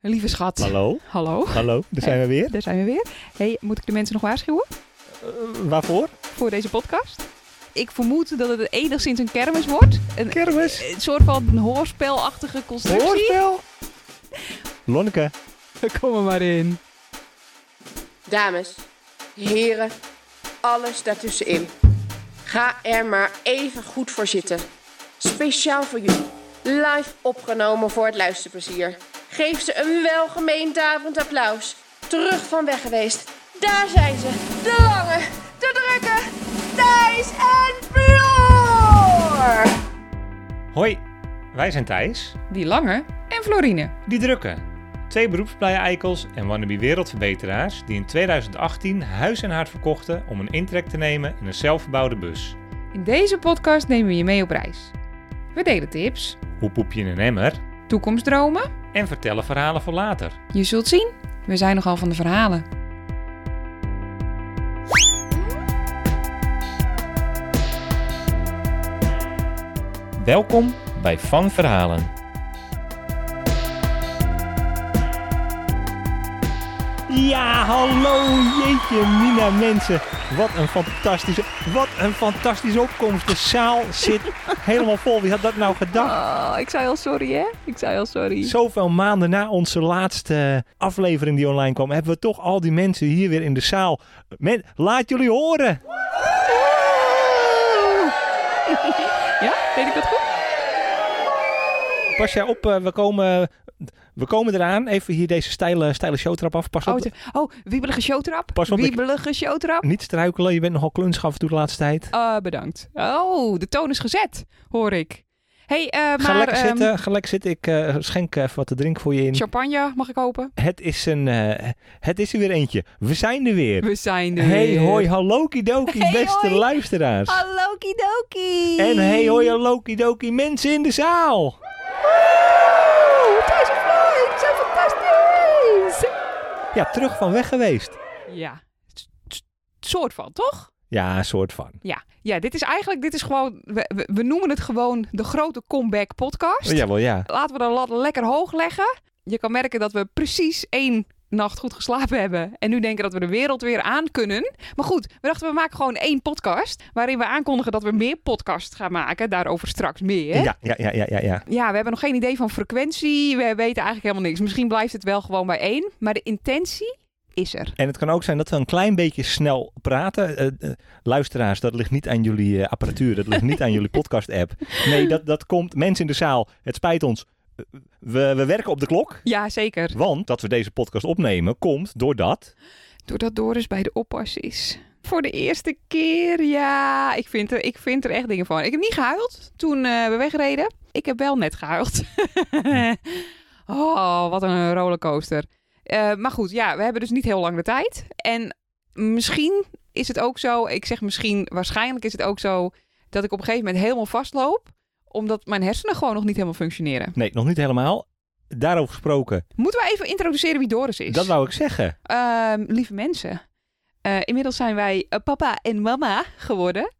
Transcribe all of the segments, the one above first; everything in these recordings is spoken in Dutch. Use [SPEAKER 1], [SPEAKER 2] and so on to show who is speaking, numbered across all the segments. [SPEAKER 1] Lieve schat.
[SPEAKER 2] Hallo?
[SPEAKER 1] Hallo.
[SPEAKER 2] Hallo, daar zijn we weer.
[SPEAKER 1] Daar zijn we weer. hey, moet ik de mensen nog waarschuwen
[SPEAKER 2] Eh, waarvoor?
[SPEAKER 1] voor deze podcast? Ik vermoed dat het enigszins een kermis wordt. Een,
[SPEAKER 2] Kermis.
[SPEAKER 1] een soort van hoorspelachtige constructie.
[SPEAKER 2] Hoorspel. Lonneke.
[SPEAKER 1] Kom er maar in.
[SPEAKER 3] Dames, heren, alles daartussenin. Ga er maar even goed voor zitten. Speciaal voor jullie. Live opgenomen voor het luisterplezier. Geef ze een welgemeend daverend applaus. Terug van weg geweest. Daar zijn ze. De lange, de drukke, Thijs en Floor.
[SPEAKER 2] Hoi, wij zijn Thijs.
[SPEAKER 1] Die lange en Florine.
[SPEAKER 2] Die drukken. Twee beroepsblije-eikels en wannabe wereldverbeteraars die in 2018 huis en haard verkochten om een intrek te nemen in een zelfgebouwde bus.
[SPEAKER 1] In deze podcast nemen we je mee op reis. We delen tips,
[SPEAKER 2] Hoe poep je in een emmer?
[SPEAKER 1] toekomstdromen.
[SPEAKER 2] En vertellen verhalen voor later.
[SPEAKER 1] Je zult zien, we zijn nogal van de verhalen.
[SPEAKER 2] Welkom bij Van Verhalen. Ja, hallo, jeetje, Mina, mensen. Wat een fantastische, wat een fantastische opkomst. De zaal zit helemaal vol. Wie had dat nou gedacht?
[SPEAKER 1] Oh, ik zei al sorry, hè? Ik zei al sorry.
[SPEAKER 2] Zoveel maanden na onze laatste aflevering die online kwam, hebben we toch al die mensen hier weer in de zaal. Men, laat jullie horen.
[SPEAKER 1] Ja, deed ik dat goed?
[SPEAKER 2] Pas jij op, eh, we komen, we komen eraan. Even hier deze steile, steile showtrap af. Pas
[SPEAKER 1] Oh,
[SPEAKER 2] op,
[SPEAKER 1] te- oh wiebelige showtrap.
[SPEAKER 2] Pas op, ik-
[SPEAKER 1] wiebelige showtrap.
[SPEAKER 2] Niet struikelen, je bent nogal klunzig af en toe de laatste tijd.
[SPEAKER 1] Ah, bedankt. Oh, de toon is gezet, hoor ik. hey, eh, maar
[SPEAKER 2] ga lekker
[SPEAKER 1] ehm,
[SPEAKER 2] zitten, ga lekker zitten. Ik eh, schenk even wat te drinken voor je in.
[SPEAKER 1] champagne mag ik hopen?
[SPEAKER 2] Het is, een, eh, het is er weer eentje. We zijn er weer.
[SPEAKER 1] We zijn er
[SPEAKER 2] Hey
[SPEAKER 1] weer.
[SPEAKER 2] hoi, hallo kidoki,
[SPEAKER 1] Hey,
[SPEAKER 2] beste
[SPEAKER 1] hoi.
[SPEAKER 2] luisteraars.
[SPEAKER 1] Hallo, kidoki.
[SPEAKER 2] En hey hoi, hallo kidoki, mensen in de zaal.
[SPEAKER 1] Oeh, Thijs en Floyd zijn fantastisch.
[SPEAKER 2] Ja, terug van weg geweest.
[SPEAKER 1] Ja, s- s- soort van, toch?
[SPEAKER 2] Ja, een soort van.
[SPEAKER 1] Ja, ja dit is eigenlijk, dit is gewoon, we, we, we noemen het gewoon de grote comeback podcast.
[SPEAKER 2] Oh, Jawel, ja.
[SPEAKER 1] Laten we de lat lekker hoog leggen. Je kan merken dat we precies één nacht goed geslapen hebben. En nu denken dat we de wereld weer aan kunnen. Maar goed, we dachten we maken gewoon één podcast. Waarin we aankondigen dat we meer podcasts gaan maken. Daarover straks meer.
[SPEAKER 2] Ja, ja, ja, ja, ja, ja.
[SPEAKER 1] Ja, we hebben nog geen idee van frequentie. We weten eigenlijk helemaal niks. Misschien blijft het wel gewoon bij één. Maar de intentie is er.
[SPEAKER 2] En het kan ook zijn dat we een klein beetje snel praten. Eh, eh, luisteraars, dat ligt niet aan jullie eh, apparatuur. Dat ligt niet aan jullie podcast-app. Nee, dat, dat komt. Mensen in de zaal, het spijt ons. Eh, We, we werken op de klok.
[SPEAKER 1] Ja, zeker.
[SPEAKER 2] Want dat we deze podcast opnemen komt doordat...
[SPEAKER 1] Doordat Doris bij de oppas is. Voor de eerste keer, ja. Ik vind er, ik vind er echt dingen van. Ik heb niet gehuild toen eh, we wegreden. Ik heb wel net gehuild. oh, wat een rollercoaster. Eh, maar goed, ja, we hebben dus niet heel lang de tijd. En misschien is het ook zo, ik zeg misschien, waarschijnlijk is het ook zo... dat ik op een gegeven moment helemaal vastloop... omdat mijn hersenen gewoon nog niet helemaal functioneren.
[SPEAKER 2] Nee, nog niet helemaal. Daarover gesproken.
[SPEAKER 1] Moeten we even introduceren wie Doris is?
[SPEAKER 2] Dat wou ik zeggen.
[SPEAKER 1] Ehm, lieve mensen, eh, inmiddels zijn wij eh, papa en mama geworden.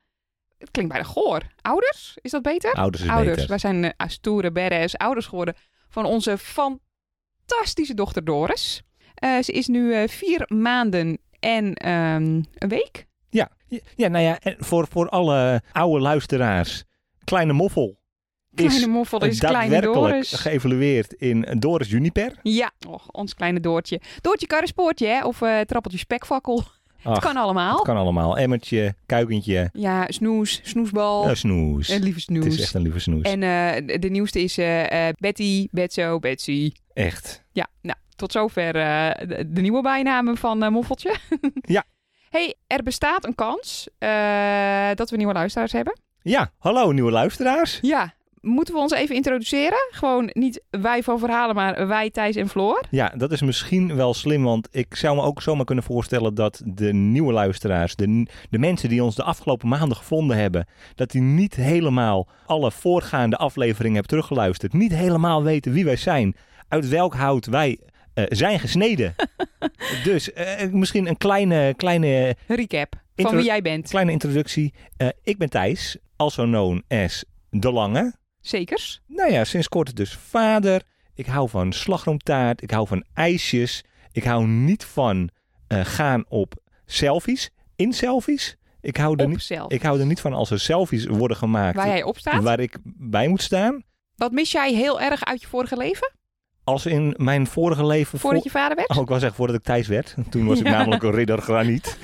[SPEAKER 1] Het klinkt bijna goor. Ouders, is dat beter?
[SPEAKER 2] Ouders is
[SPEAKER 1] Ouders,
[SPEAKER 2] beter.
[SPEAKER 1] wij zijn eh stoere badass ouders geworden van onze fantastische dochter Doris. Eh, ze is nu eh, vier maanden en ehm, een week.
[SPEAKER 2] Ja, ja nou ja, en voor, voor alle oude luisteraars. Kleine Moffel
[SPEAKER 1] Kleine
[SPEAKER 2] is
[SPEAKER 1] moffel is kleine
[SPEAKER 2] daadwerkelijk
[SPEAKER 1] Doris.
[SPEAKER 2] geëvalueerd in Doris Juniper.
[SPEAKER 1] Ja, och, ons kleine Doortje. Doortje Karrespoortje, hè? Of eh trappeltje spekvakkel.
[SPEAKER 2] Ach,
[SPEAKER 1] het kan allemaal.
[SPEAKER 2] Het kan allemaal. Emmertje, kuikentje,
[SPEAKER 1] Ja, snoes, snoesbal.
[SPEAKER 2] een snoes.
[SPEAKER 1] Eh, lieve snoes.
[SPEAKER 2] Het is echt een lieve snoes.
[SPEAKER 1] En eh, de- de nieuwste is eh, eh, Betty, Betso, Betsy.
[SPEAKER 2] Echt.
[SPEAKER 1] Ja, nou, tot zover eh, de, de nieuwe bijnamen van eh, Moffeltje.
[SPEAKER 2] Ja.
[SPEAKER 1] hey, er bestaat een kans eh, dat we nieuwe luisteraars hebben.
[SPEAKER 2] Ja, hallo nieuwe luisteraars.
[SPEAKER 1] Ja. Moeten we ons even introduceren? Gewoon niet wij van verhalen, maar wij, Thijs en Floor.
[SPEAKER 2] Ja, dat is misschien wel slim, want ik zou me ook zomaar kunnen voorstellen dat de nieuwe luisteraars, de, de mensen die ons de afgelopen maanden gevonden hebben, dat die niet helemaal alle voorgaande afleveringen hebben teruggeluisterd, niet helemaal weten wie wij zijn, uit welk hout wij eh, zijn gesneden. dus eh, misschien een kleine, kleine
[SPEAKER 1] Recap van
[SPEAKER 2] Intro-
[SPEAKER 1] wie jij bent.
[SPEAKER 2] Kleine introductie. Eh, ik ben Thijs, also known as De Lange.
[SPEAKER 1] Zekers.
[SPEAKER 2] Nou ja, sinds kort dus vader. Ik hou van slagroomtaart. Ik hou van ijsjes. Ik hou niet van eh, gaan op selfies. In selfies. Ik hou, er
[SPEAKER 1] Op
[SPEAKER 2] niet,
[SPEAKER 1] zelf.
[SPEAKER 2] ik hou er niet van als er selfies worden gemaakt
[SPEAKER 1] Waar jij op staat.
[SPEAKER 2] waar ik bij moet staan.
[SPEAKER 1] Wat mis jij heel erg uit je vorige leven?
[SPEAKER 2] Als in mijn vorige leven... vo-
[SPEAKER 1] Voordat je vader werd?
[SPEAKER 2] Oh, ik was echt voordat ik Thijs werd. Toen was ik
[SPEAKER 1] Ja.
[SPEAKER 2] namelijk een ridder graniet.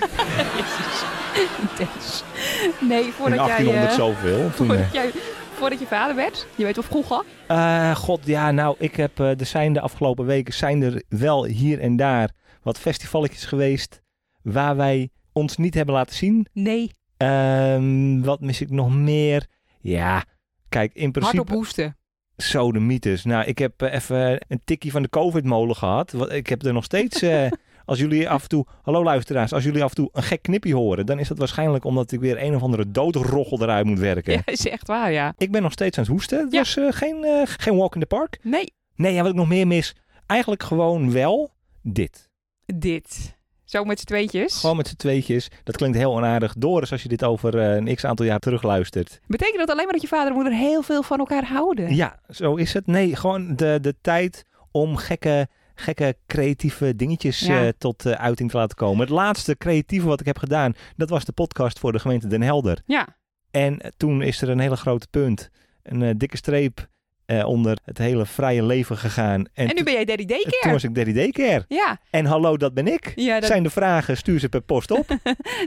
[SPEAKER 1] Yes. Nee,
[SPEAKER 2] in
[SPEAKER 1] voordat jij,
[SPEAKER 2] 1800
[SPEAKER 1] eh,
[SPEAKER 2] zoveel. Toen, eh,
[SPEAKER 1] voordat, jij, voordat je vader werd. Je weet wel vroeger.
[SPEAKER 2] Eh, God, ja, nou, ik heb, eh, er zijn de afgelopen weken zijn er wel hier en daar wat festivalletjes geweest waar wij ons niet hebben laten zien.
[SPEAKER 1] Nee,
[SPEAKER 2] Ehm, wat mis ik nog meer? Ja, kijk, in
[SPEAKER 1] hardop
[SPEAKER 2] principe
[SPEAKER 1] hoesten.
[SPEAKER 2] zo de mythes. Nou, ik heb eh, even een tikkie van de COVID-molen gehad. Wat- Ik heb er nog steeds, eh, als jullie af en toe, hallo luisteraars, als jullie af en toe een gek knippie horen, dan is dat waarschijnlijk omdat ik weer een of andere doodroggel eruit moet werken.
[SPEAKER 1] Ja, is echt waar, ja.
[SPEAKER 2] Ik ben nog steeds aan het hoesten. Het
[SPEAKER 1] Ja.
[SPEAKER 2] was eh, geen, eh, geen walk in the park.
[SPEAKER 1] Nee,
[SPEAKER 2] Nee, ja, wat ik nog meer mis. Eigenlijk gewoon wel dit.
[SPEAKER 1] dit. Zo met z'n tweetjes.
[SPEAKER 2] Gewoon met z'n tweetjes. Dat klinkt heel onaardig. Doris, als je dit over eh, een x aantal jaar terugluistert.
[SPEAKER 1] Betekent dat alleen maar dat je vader en moeder heel veel van elkaar houden?
[SPEAKER 2] Ja, zo is het. Nee, gewoon de, de tijd om gekke, gekke creatieve dingetjes
[SPEAKER 1] Ja.
[SPEAKER 2] eh, tot eh, uiting te laten komen. Het laatste creatieve wat ik heb gedaan, dat was de podcast voor de gemeente Den Helder.
[SPEAKER 1] Ja.
[SPEAKER 2] En eh, toen is er een hele grote punt, een eh, dikke streep eh, onder het hele vrije leven gegaan.
[SPEAKER 1] En nu ben jij Daddy
[SPEAKER 2] to- toen
[SPEAKER 1] Daycare.
[SPEAKER 2] was ik Daddy Daycare.
[SPEAKER 1] Ja,
[SPEAKER 2] En hallo, dat ben ik.
[SPEAKER 1] ja dat,
[SPEAKER 2] Zijn de vragen, stuur ze per post op.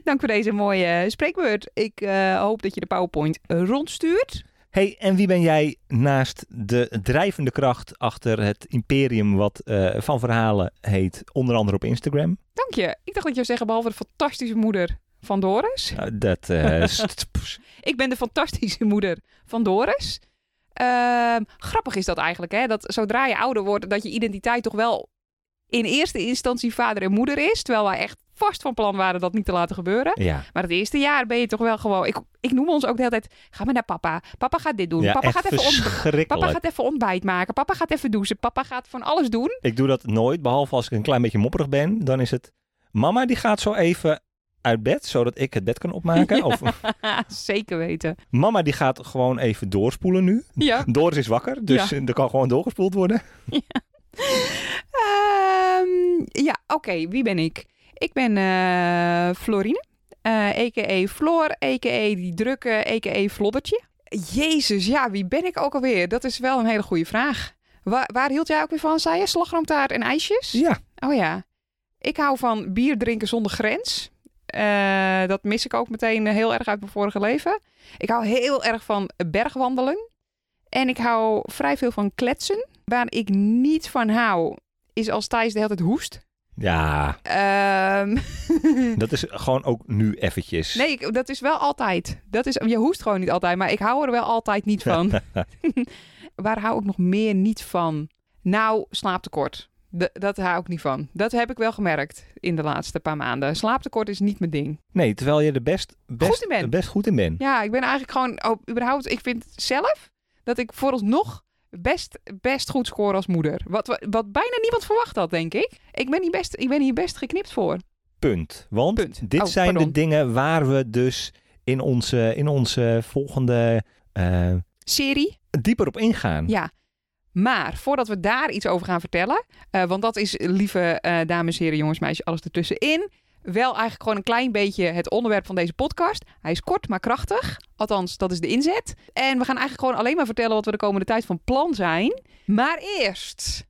[SPEAKER 1] dank voor deze mooie eh, spreekbeurt. Ik eh, hoop dat je de PowerPoint eh, rondstuurt.
[SPEAKER 2] hey, en wie ben jij naast de drijvende kracht achter het imperium wat eh, Van Verhalen heet, onder andere op Instagram?
[SPEAKER 1] Dank je. Ik dacht dat je zou zeggen, behalve de fantastische moeder van Doris.
[SPEAKER 2] Nou, dat, eh, st- pss.
[SPEAKER 1] Ik ben de fantastische moeder van Doris. Ehm, grappig is dat eigenlijk, hè? Dat zodra je ouder wordt, dat je identiteit toch wel in eerste instantie vader en moeder is. Terwijl wij echt vast van plan waren dat niet te laten gebeuren.
[SPEAKER 2] ja.
[SPEAKER 1] Maar het eerste jaar ben je toch wel gewoon... Ik, ik noem ons ook de hele tijd, ga maar naar papa. Papa gaat dit doen.
[SPEAKER 2] ja,
[SPEAKER 1] papa,
[SPEAKER 2] echt
[SPEAKER 1] gaat even ont-
[SPEAKER 2] verschrikkelijk.
[SPEAKER 1] papa gaat even ontbijt maken. Papa gaat even douchen. Papa gaat van alles doen.
[SPEAKER 2] Ik doe dat nooit, behalve als ik een klein beetje mopperig ben. Dan is het, mama die gaat zo even uit bed, zodat ik het bed kan opmaken. Of
[SPEAKER 1] Ah, Zeker weten.
[SPEAKER 2] mama die gaat gewoon even doorspoelen nu.
[SPEAKER 1] Ja.
[SPEAKER 2] Doris is wakker, dus er kan gewoon doorgespoeld worden.
[SPEAKER 1] Ehm, ja, oké. Wie ben ik? Ik ben eh, Florine. Eh a.k.a. Floor, a.k.a. die drukke, a.k.a. Floddertje. Jezus, ja, wie ben ik ook alweer? Dat is wel een hele goede vraag. Waar, waar hield jij ook weer van, zei je? Slagroomtaart en ijsjes?
[SPEAKER 2] Ja,
[SPEAKER 1] Oh ja. Ik hou van bier drinken zonder grens. Eh, dat mis ik ook meteen eh, heel erg uit mijn vorige leven. Ik hou heel erg van bergwandelen. En ik hou vrij veel van kletsen. Waar ik niet van hou, is als Thijs de hele tijd hoest.
[SPEAKER 2] ja.
[SPEAKER 1] Ehm,
[SPEAKER 2] Dat is gewoon ook nu eventjes.
[SPEAKER 1] nee, ik- dat is wel altijd. Dat is, je hoest gewoon niet altijd, maar ik hou er wel altijd niet van. Waar hou ik nog meer niet van? Nou, slaaptekort. D- dat hou ik niet van. Dat heb ik wel gemerkt in de laatste paar maanden. Slaaptekort is niet mijn ding.
[SPEAKER 2] Nee, terwijl je er best, best,
[SPEAKER 1] Goed in bent.
[SPEAKER 2] best goed in bent.
[SPEAKER 1] Ja, ik ben eigenlijk gewoon, oh, überhaupt, ik vind zelf dat ik vooralsnog best, best goed score als moeder. Wat, wat, wat bijna niemand verwacht had, denk ik. Ik ben, niet best, ik ben hier best geknipt voor.
[SPEAKER 2] Punt. Want
[SPEAKER 1] Punt.
[SPEAKER 2] dit
[SPEAKER 1] Oh,
[SPEAKER 2] zijn de
[SPEAKER 1] pardon.
[SPEAKER 2] dingen waar we dus in onze, in onze volgende eh,
[SPEAKER 1] Serie,
[SPEAKER 2] dieper op ingaan.
[SPEAKER 1] Ja. Maar voordat we daar iets over gaan vertellen, eh, want dat is, lieve eh, dames, heren, jongens, meisjes, alles ertussenin. Wel eigenlijk gewoon een klein beetje het onderwerp van deze podcast. Hij is kort, maar krachtig. Althans, dat is de inzet. En we gaan eigenlijk gewoon alleen maar vertellen wat we de komende tijd van plan zijn. Maar eerst,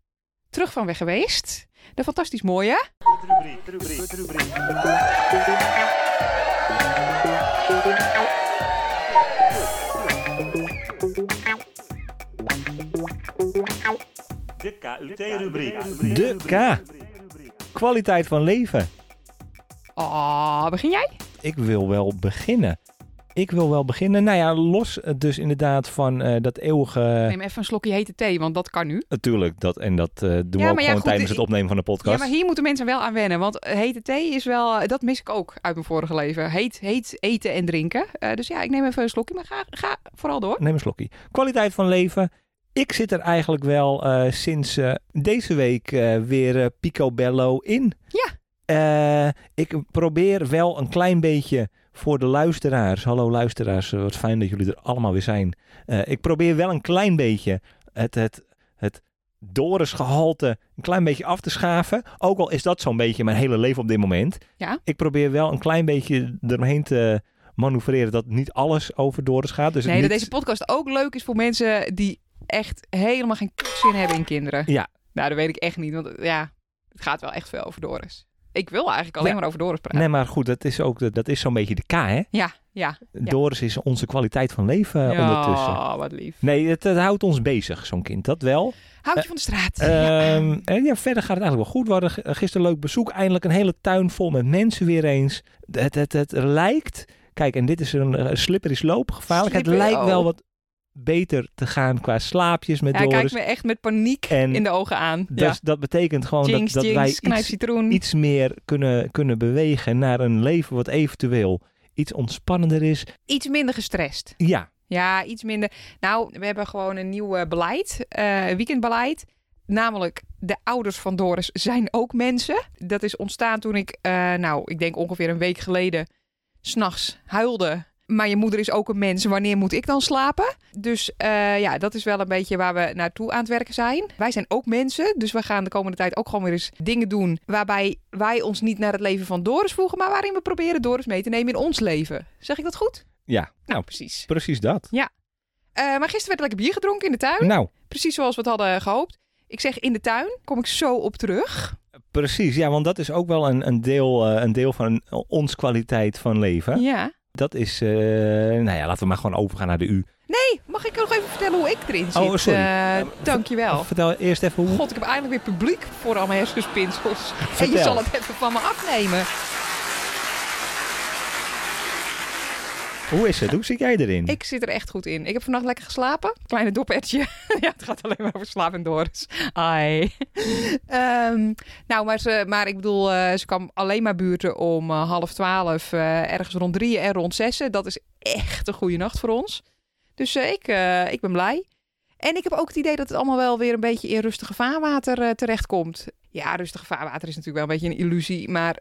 [SPEAKER 1] terug van weg geweest. De fantastisch mooie.
[SPEAKER 4] De KUT-rubriek.
[SPEAKER 2] De K. Kwaliteit van leven.
[SPEAKER 1] Oh, begin jij?
[SPEAKER 2] Ik wil wel beginnen. Ik wil wel beginnen. Nou ja, los eh, dus inderdaad van eh, dat eeuwige...
[SPEAKER 1] Neem even een slokje hete thee, want dat kan nu.
[SPEAKER 2] Natuurlijk, dat, en dat eh, doen
[SPEAKER 1] Ja,
[SPEAKER 2] we ook
[SPEAKER 1] maar ja,
[SPEAKER 2] gewoon
[SPEAKER 1] goed,
[SPEAKER 2] tijdens
[SPEAKER 1] ik-
[SPEAKER 2] het opnemen van de
[SPEAKER 1] Ja,
[SPEAKER 2] podcast.
[SPEAKER 1] maar hier moeten mensen wel aan wennen. Want eh, hete thee is wel... eh, Dat mis ik ook uit mijn vorige leven. Heet, heet eten en drinken. Eh, dus ja, ik neem even een slokje. Maar ga, ga vooral door.
[SPEAKER 2] Neem een slokje. Kwaliteit van leven. Ik zit er eigenlijk wel eh, sinds eh, deze week eh, weer eh, picobello in.
[SPEAKER 1] Ja.
[SPEAKER 2] Eh, ik probeer wel een klein beetje voor de luisteraars. Hallo luisteraars, eh, wat fijn dat jullie er allemaal weer zijn. Eh, ik probeer wel een klein beetje het, het, het Doris gehalte een klein beetje af te schaven. Ook al is dat zo'n beetje mijn hele leven op dit moment.
[SPEAKER 1] Ja.
[SPEAKER 2] Ik probeer wel een klein beetje eromheen te manoeuvreren dat niet alles over Doris gaat. Dus het
[SPEAKER 1] nee, dat
[SPEAKER 2] niet-
[SPEAKER 1] deze podcast ook leuk is voor mensen die echt helemaal geen zin hebben in kinderen.
[SPEAKER 2] Ja.
[SPEAKER 1] Nou, dat weet ik echt niet, want eh, ja, het gaat wel echt veel over Doris. Ik wil eigenlijk alleen
[SPEAKER 2] Ja.
[SPEAKER 1] maar over Doris praten.
[SPEAKER 2] Nee, maar goed, dat is, ook, dat is zo'n beetje de K, hè?
[SPEAKER 1] Ja, ja. Ja.
[SPEAKER 2] Doris is onze kwaliteit van leven eh, ondertussen.
[SPEAKER 1] Oh, wat lief.
[SPEAKER 2] Nee, het, het houdt ons bezig, zo'n kind. Dat wel.
[SPEAKER 1] Houtje van de straat. Ja.
[SPEAKER 2] Eh, Ehm, en ja, verder gaat het eigenlijk wel goed. We hadden g- gisteren leuk bezoek. Eindelijk een hele tuin vol met mensen weer eens. Het, het, het lijkt... Kijk, en dit is een eh, slippery slope, gevaarlijk. Het
[SPEAKER 1] Slippery,
[SPEAKER 2] lijkt
[SPEAKER 1] oh.
[SPEAKER 2] wel wat beter te gaan qua slaapjes met
[SPEAKER 1] Hij kijkt
[SPEAKER 2] Doris.
[SPEAKER 1] me echt met paniek
[SPEAKER 2] En
[SPEAKER 1] in de ogen aan.
[SPEAKER 2] Dus
[SPEAKER 1] ja.
[SPEAKER 2] dat betekent gewoon
[SPEAKER 1] Jinx,
[SPEAKER 2] dat, dat
[SPEAKER 1] jinx,
[SPEAKER 2] wij
[SPEAKER 1] knijp
[SPEAKER 2] iets,
[SPEAKER 1] citroen.
[SPEAKER 2] iets meer kunnen, kunnen bewegen naar een leven wat eventueel iets ontspannender is.
[SPEAKER 1] Iets minder gestrest.
[SPEAKER 2] Ja,
[SPEAKER 1] Ja, iets minder. Nou, we hebben gewoon een nieuw eh, beleid, eh, weekendbeleid. Namelijk, de ouders van Doris zijn ook mensen. Dat is ontstaan toen ik, eh, nou, ik denk ongeveer een week geleden, s'nachts huilde. Maar je moeder is ook een mens, wanneer moet ik dan slapen? Dus eh, ja, dat is wel een beetje waar we naartoe aan het werken zijn. Wij zijn ook mensen, dus we gaan de komende tijd ook gewoon weer eens dingen doen... waarbij wij ons niet naar het leven van Doris voegen... maar waarin we proberen Doris mee te nemen in ons leven. Zeg ik dat goed?
[SPEAKER 2] ja. nou,
[SPEAKER 1] precies.
[SPEAKER 2] precies dat.
[SPEAKER 1] Eh, maar gisteren werd er lekker bier gedronken in de tuin.
[SPEAKER 2] Nou,
[SPEAKER 1] Precies zoals we het hadden gehoopt. Ik zeg in de tuin, kom ik zo op terug.
[SPEAKER 2] Precies, ja, want dat is ook wel een, een, deel, eh, een deel van ons kwaliteit van leven.
[SPEAKER 1] Ja.
[SPEAKER 2] Dat is, eh, nou ja, laten we maar gewoon overgaan naar de U.
[SPEAKER 1] Hey, mag ik nog even vertellen hoe ik erin zit?
[SPEAKER 2] Oh, sorry.
[SPEAKER 1] Eh,
[SPEAKER 2] Ja,
[SPEAKER 1] dankjewel.
[SPEAKER 2] Vertel eerst even hoe.
[SPEAKER 1] God, ik heb eindelijk weer publiek voor al mijn hersenspinsels. En je
[SPEAKER 2] Vertel.
[SPEAKER 1] zal het even van me afnemen.
[SPEAKER 2] Hoe is het? Hoe zit jij erin?
[SPEAKER 1] Ik zit er echt goed in. Ik heb vannacht lekker geslapen. Kleine dopertje. ja, het gaat alleen maar over slaap en Doris. Ai. Ehm, nou, maar, ze, maar ik bedoel, eh, ze kwam alleen maar buurten om eh, half twaalf, eh, ergens rond drieën en rond zessen. Dat is echt een goede nacht voor ons. Dus eh, ik, eh, ik ben blij. En ik heb ook het idee dat het allemaal wel weer een beetje in rustige vaarwater eh, terechtkomt. Ja, rustige vaarwater is natuurlijk wel een beetje een illusie. Maar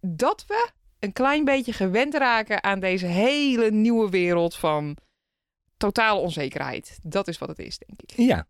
[SPEAKER 1] dat we een klein beetje gewend raken aan deze hele nieuwe wereld van totale onzekerheid. Dat is wat het is, denk ik.
[SPEAKER 2] Ja.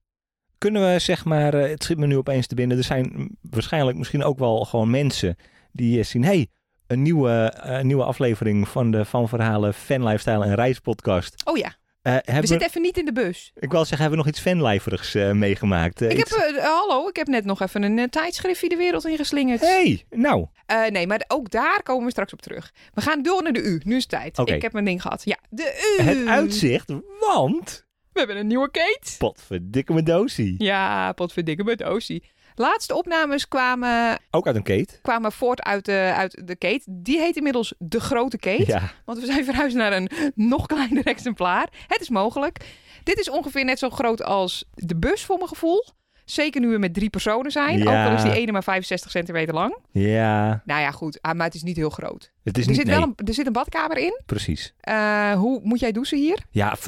[SPEAKER 2] Kunnen we zeg maar, eh, het schiet me nu opeens te binnen, er zijn mm, waarschijnlijk misschien ook wel gewoon mensen die eh, zien, hey, een nieuwe, eh, een nieuwe aflevering van de Van Verhalen Fan Lifestyle en Reispodcast.
[SPEAKER 1] Oh ja,
[SPEAKER 2] Eh,
[SPEAKER 1] we
[SPEAKER 2] hebben,
[SPEAKER 1] zitten even niet in de bus.
[SPEAKER 2] Ik wil zeggen, hebben we nog iets fanliferigs eh, meegemaakt? Eh,
[SPEAKER 1] Ik heb,
[SPEAKER 2] iets-
[SPEAKER 1] eh, hallo, ik heb net nog even een eh, tijdschriftje de wereld ingeslingerd.
[SPEAKER 2] Hey, nou,
[SPEAKER 1] Eh, nee, maar ook daar komen we straks op terug. We gaan door naar de U. Nu is het tijd.
[SPEAKER 2] Oké.
[SPEAKER 1] Ik heb mijn ding gehad. Ja, de U.
[SPEAKER 2] het uitzicht, want...
[SPEAKER 1] We hebben een nieuwe Kate.
[SPEAKER 2] Potverdikke mijn dosie.
[SPEAKER 1] Ja, potverdikke met Osie. Laatste opnames kwamen,
[SPEAKER 2] Ook uit een keet.
[SPEAKER 1] kwamen voort uit de, uit de Kate. Die heet inmiddels De Grote Kate.
[SPEAKER 2] Ja.
[SPEAKER 1] Want we zijn verhuisd naar een nog kleiner exemplaar. Het is mogelijk. Dit is ongeveer net zo groot als de bus voor mijn gevoel. Zeker nu we met drie personen zijn.
[SPEAKER 2] Ja.
[SPEAKER 1] Ook al is die ene maar 65 centimeter lang.
[SPEAKER 2] Ja.
[SPEAKER 1] Nou ja, goed. Ah, maar het is niet heel groot.
[SPEAKER 2] Het is
[SPEAKER 1] er,
[SPEAKER 2] niet...
[SPEAKER 1] zit
[SPEAKER 2] nee,
[SPEAKER 1] wel een, er zit een badkamer in.
[SPEAKER 2] precies.
[SPEAKER 1] Eh, hoe moet jij douchen hier?
[SPEAKER 2] Ja, v-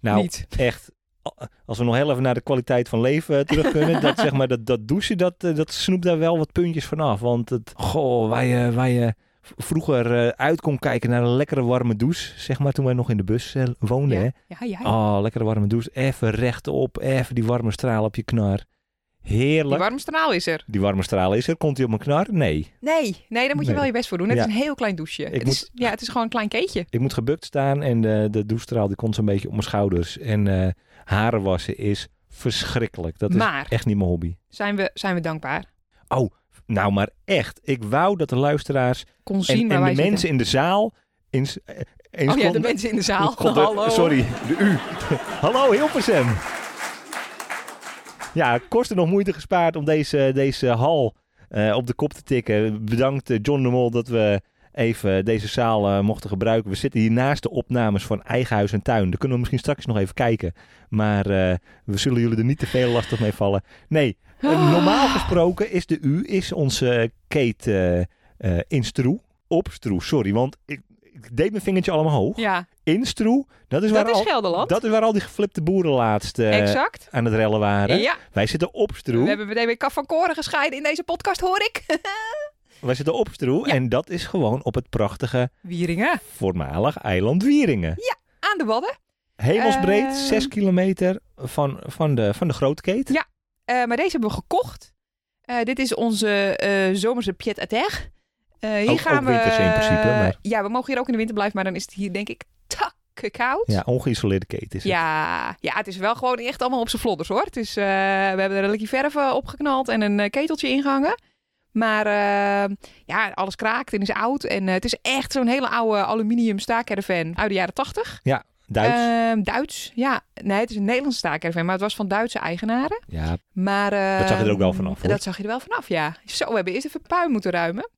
[SPEAKER 2] nou,
[SPEAKER 1] Niet.
[SPEAKER 2] echt. a- Als we nog heel even naar de kwaliteit van leven eh, terug kunnen. dat, zeg maar, dat, dat douchen, dat, eh, dat snoept daar wel wat puntjes vanaf. Want het, goh, waar je, waar je v- vroeger eh, uit kon kijken naar een lekkere warme douche. Zeg maar, toen wij nog in de bus eh, woonden. Hè?
[SPEAKER 1] Ja, ja, ja.
[SPEAKER 2] Oh, lekkere warme douche. Even rechtop. Even die warme straal op je knar.
[SPEAKER 1] Die
[SPEAKER 2] Heerlijk.
[SPEAKER 1] warme straal is er.
[SPEAKER 2] Die warme straal is er. Komt hij op mijn knar? Nee.
[SPEAKER 1] Nee, nee, daar moet je
[SPEAKER 2] Nee.
[SPEAKER 1] wel je best voor doen. Het
[SPEAKER 2] Ja.
[SPEAKER 1] is een heel klein douche. Het,
[SPEAKER 2] moet-
[SPEAKER 1] is, ja, het is gewoon een klein keetje.
[SPEAKER 2] Ik moet gebukt staan en de, de douchestraal die komt zo'n beetje op mijn schouders. En eh, haren wassen is verschrikkelijk. Dat is
[SPEAKER 1] Maar
[SPEAKER 2] echt niet mijn hobby.
[SPEAKER 1] zijn we, zijn we dankbaar.
[SPEAKER 2] Nou, maar echt. Ik wou dat de luisteraars
[SPEAKER 1] Kon zien
[SPEAKER 2] en,
[SPEAKER 1] waar
[SPEAKER 2] en de
[SPEAKER 1] wij
[SPEAKER 2] mensen
[SPEAKER 1] zitten.
[SPEAKER 2] in de zaal eens, eh, eens
[SPEAKER 1] Oh ja, de
[SPEAKER 2] konden-
[SPEAKER 1] mensen in de zaal.
[SPEAKER 2] konden-
[SPEAKER 1] Hallo.
[SPEAKER 2] Sorry, de U. Hallo Hilversum. Ja, kosten nog moeite gespaard om deze, deze hal eh, op de kop te tikken. Bedankt eh, John de Mol dat we even deze zaal eh, mochten gebruiken. We zitten hier naast de opnames van Eigen Huis en Tuin. Daar kunnen we misschien straks nog even kijken. Maar eh, we zullen jullie er niet te veel lastig mee vallen. Nee, eh, normaal gesproken is de U is onze Kate eh, eh, in stroe. Op stroe, sorry. Want ik, ik deed mijn vingertje allemaal hoog.
[SPEAKER 1] Ja,
[SPEAKER 2] In stroe, dat is,
[SPEAKER 1] dat
[SPEAKER 2] waar
[SPEAKER 1] is
[SPEAKER 2] al,
[SPEAKER 1] Gelderland.
[SPEAKER 2] dat is waar al die geflipte boeren laatst eh,
[SPEAKER 1] exact.
[SPEAKER 2] aan het rellen waren.
[SPEAKER 1] Ja,
[SPEAKER 2] Wij zitten op stroe.
[SPEAKER 1] we hebben meteen weer kaf van koren gescheiden in deze podcast, hoor ik.
[SPEAKER 2] Wij zitten op stroe.
[SPEAKER 1] Ja.
[SPEAKER 2] En dat is gewoon op het prachtige
[SPEAKER 1] Wieringen.
[SPEAKER 2] voormalig eiland Wieringen.
[SPEAKER 1] Aan de wadden.
[SPEAKER 2] Hemelsbreed,
[SPEAKER 1] Eh.
[SPEAKER 2] 6 kilometer van, van, de, van de Grootkeet.
[SPEAKER 1] Ja. Eh, maar deze hebben we gekocht. Eh, dit is onze eh, zomerse pied à terre. Eh, hier
[SPEAKER 2] Ook-
[SPEAKER 1] gaan
[SPEAKER 2] ook
[SPEAKER 1] we...
[SPEAKER 2] winters in principe, maar-
[SPEAKER 1] Ja, we mogen hier ook in de winter blijven, maar dan is het hier denk ik takke koud.
[SPEAKER 2] Ja, ongeïsoleerde keten is het.
[SPEAKER 1] Ja, ja, het is wel gewoon echt allemaal op zijn vlodders hoor. Het is, eh, we hebben er een likje verf eh, opgeknald en een eh, keteltje ingehangen. Maar eh, ja, alles kraakt en is oud. En eh, het is echt zo'n hele oude aluminium staakcaravan uit de jaren tachtig. Ehm,
[SPEAKER 2] Duits.
[SPEAKER 1] Eh. Duits, ja. Nee, het is een Nederlandse staakcaravan, maar het was van Duitse eigenaren.
[SPEAKER 2] ja,
[SPEAKER 1] Maar, eh,
[SPEAKER 2] Dat zag je er ook wel vanaf, hoor.
[SPEAKER 1] Dat zag je er wel vanaf, ja. Zo, we hebben eerst even puin moeten ruimen.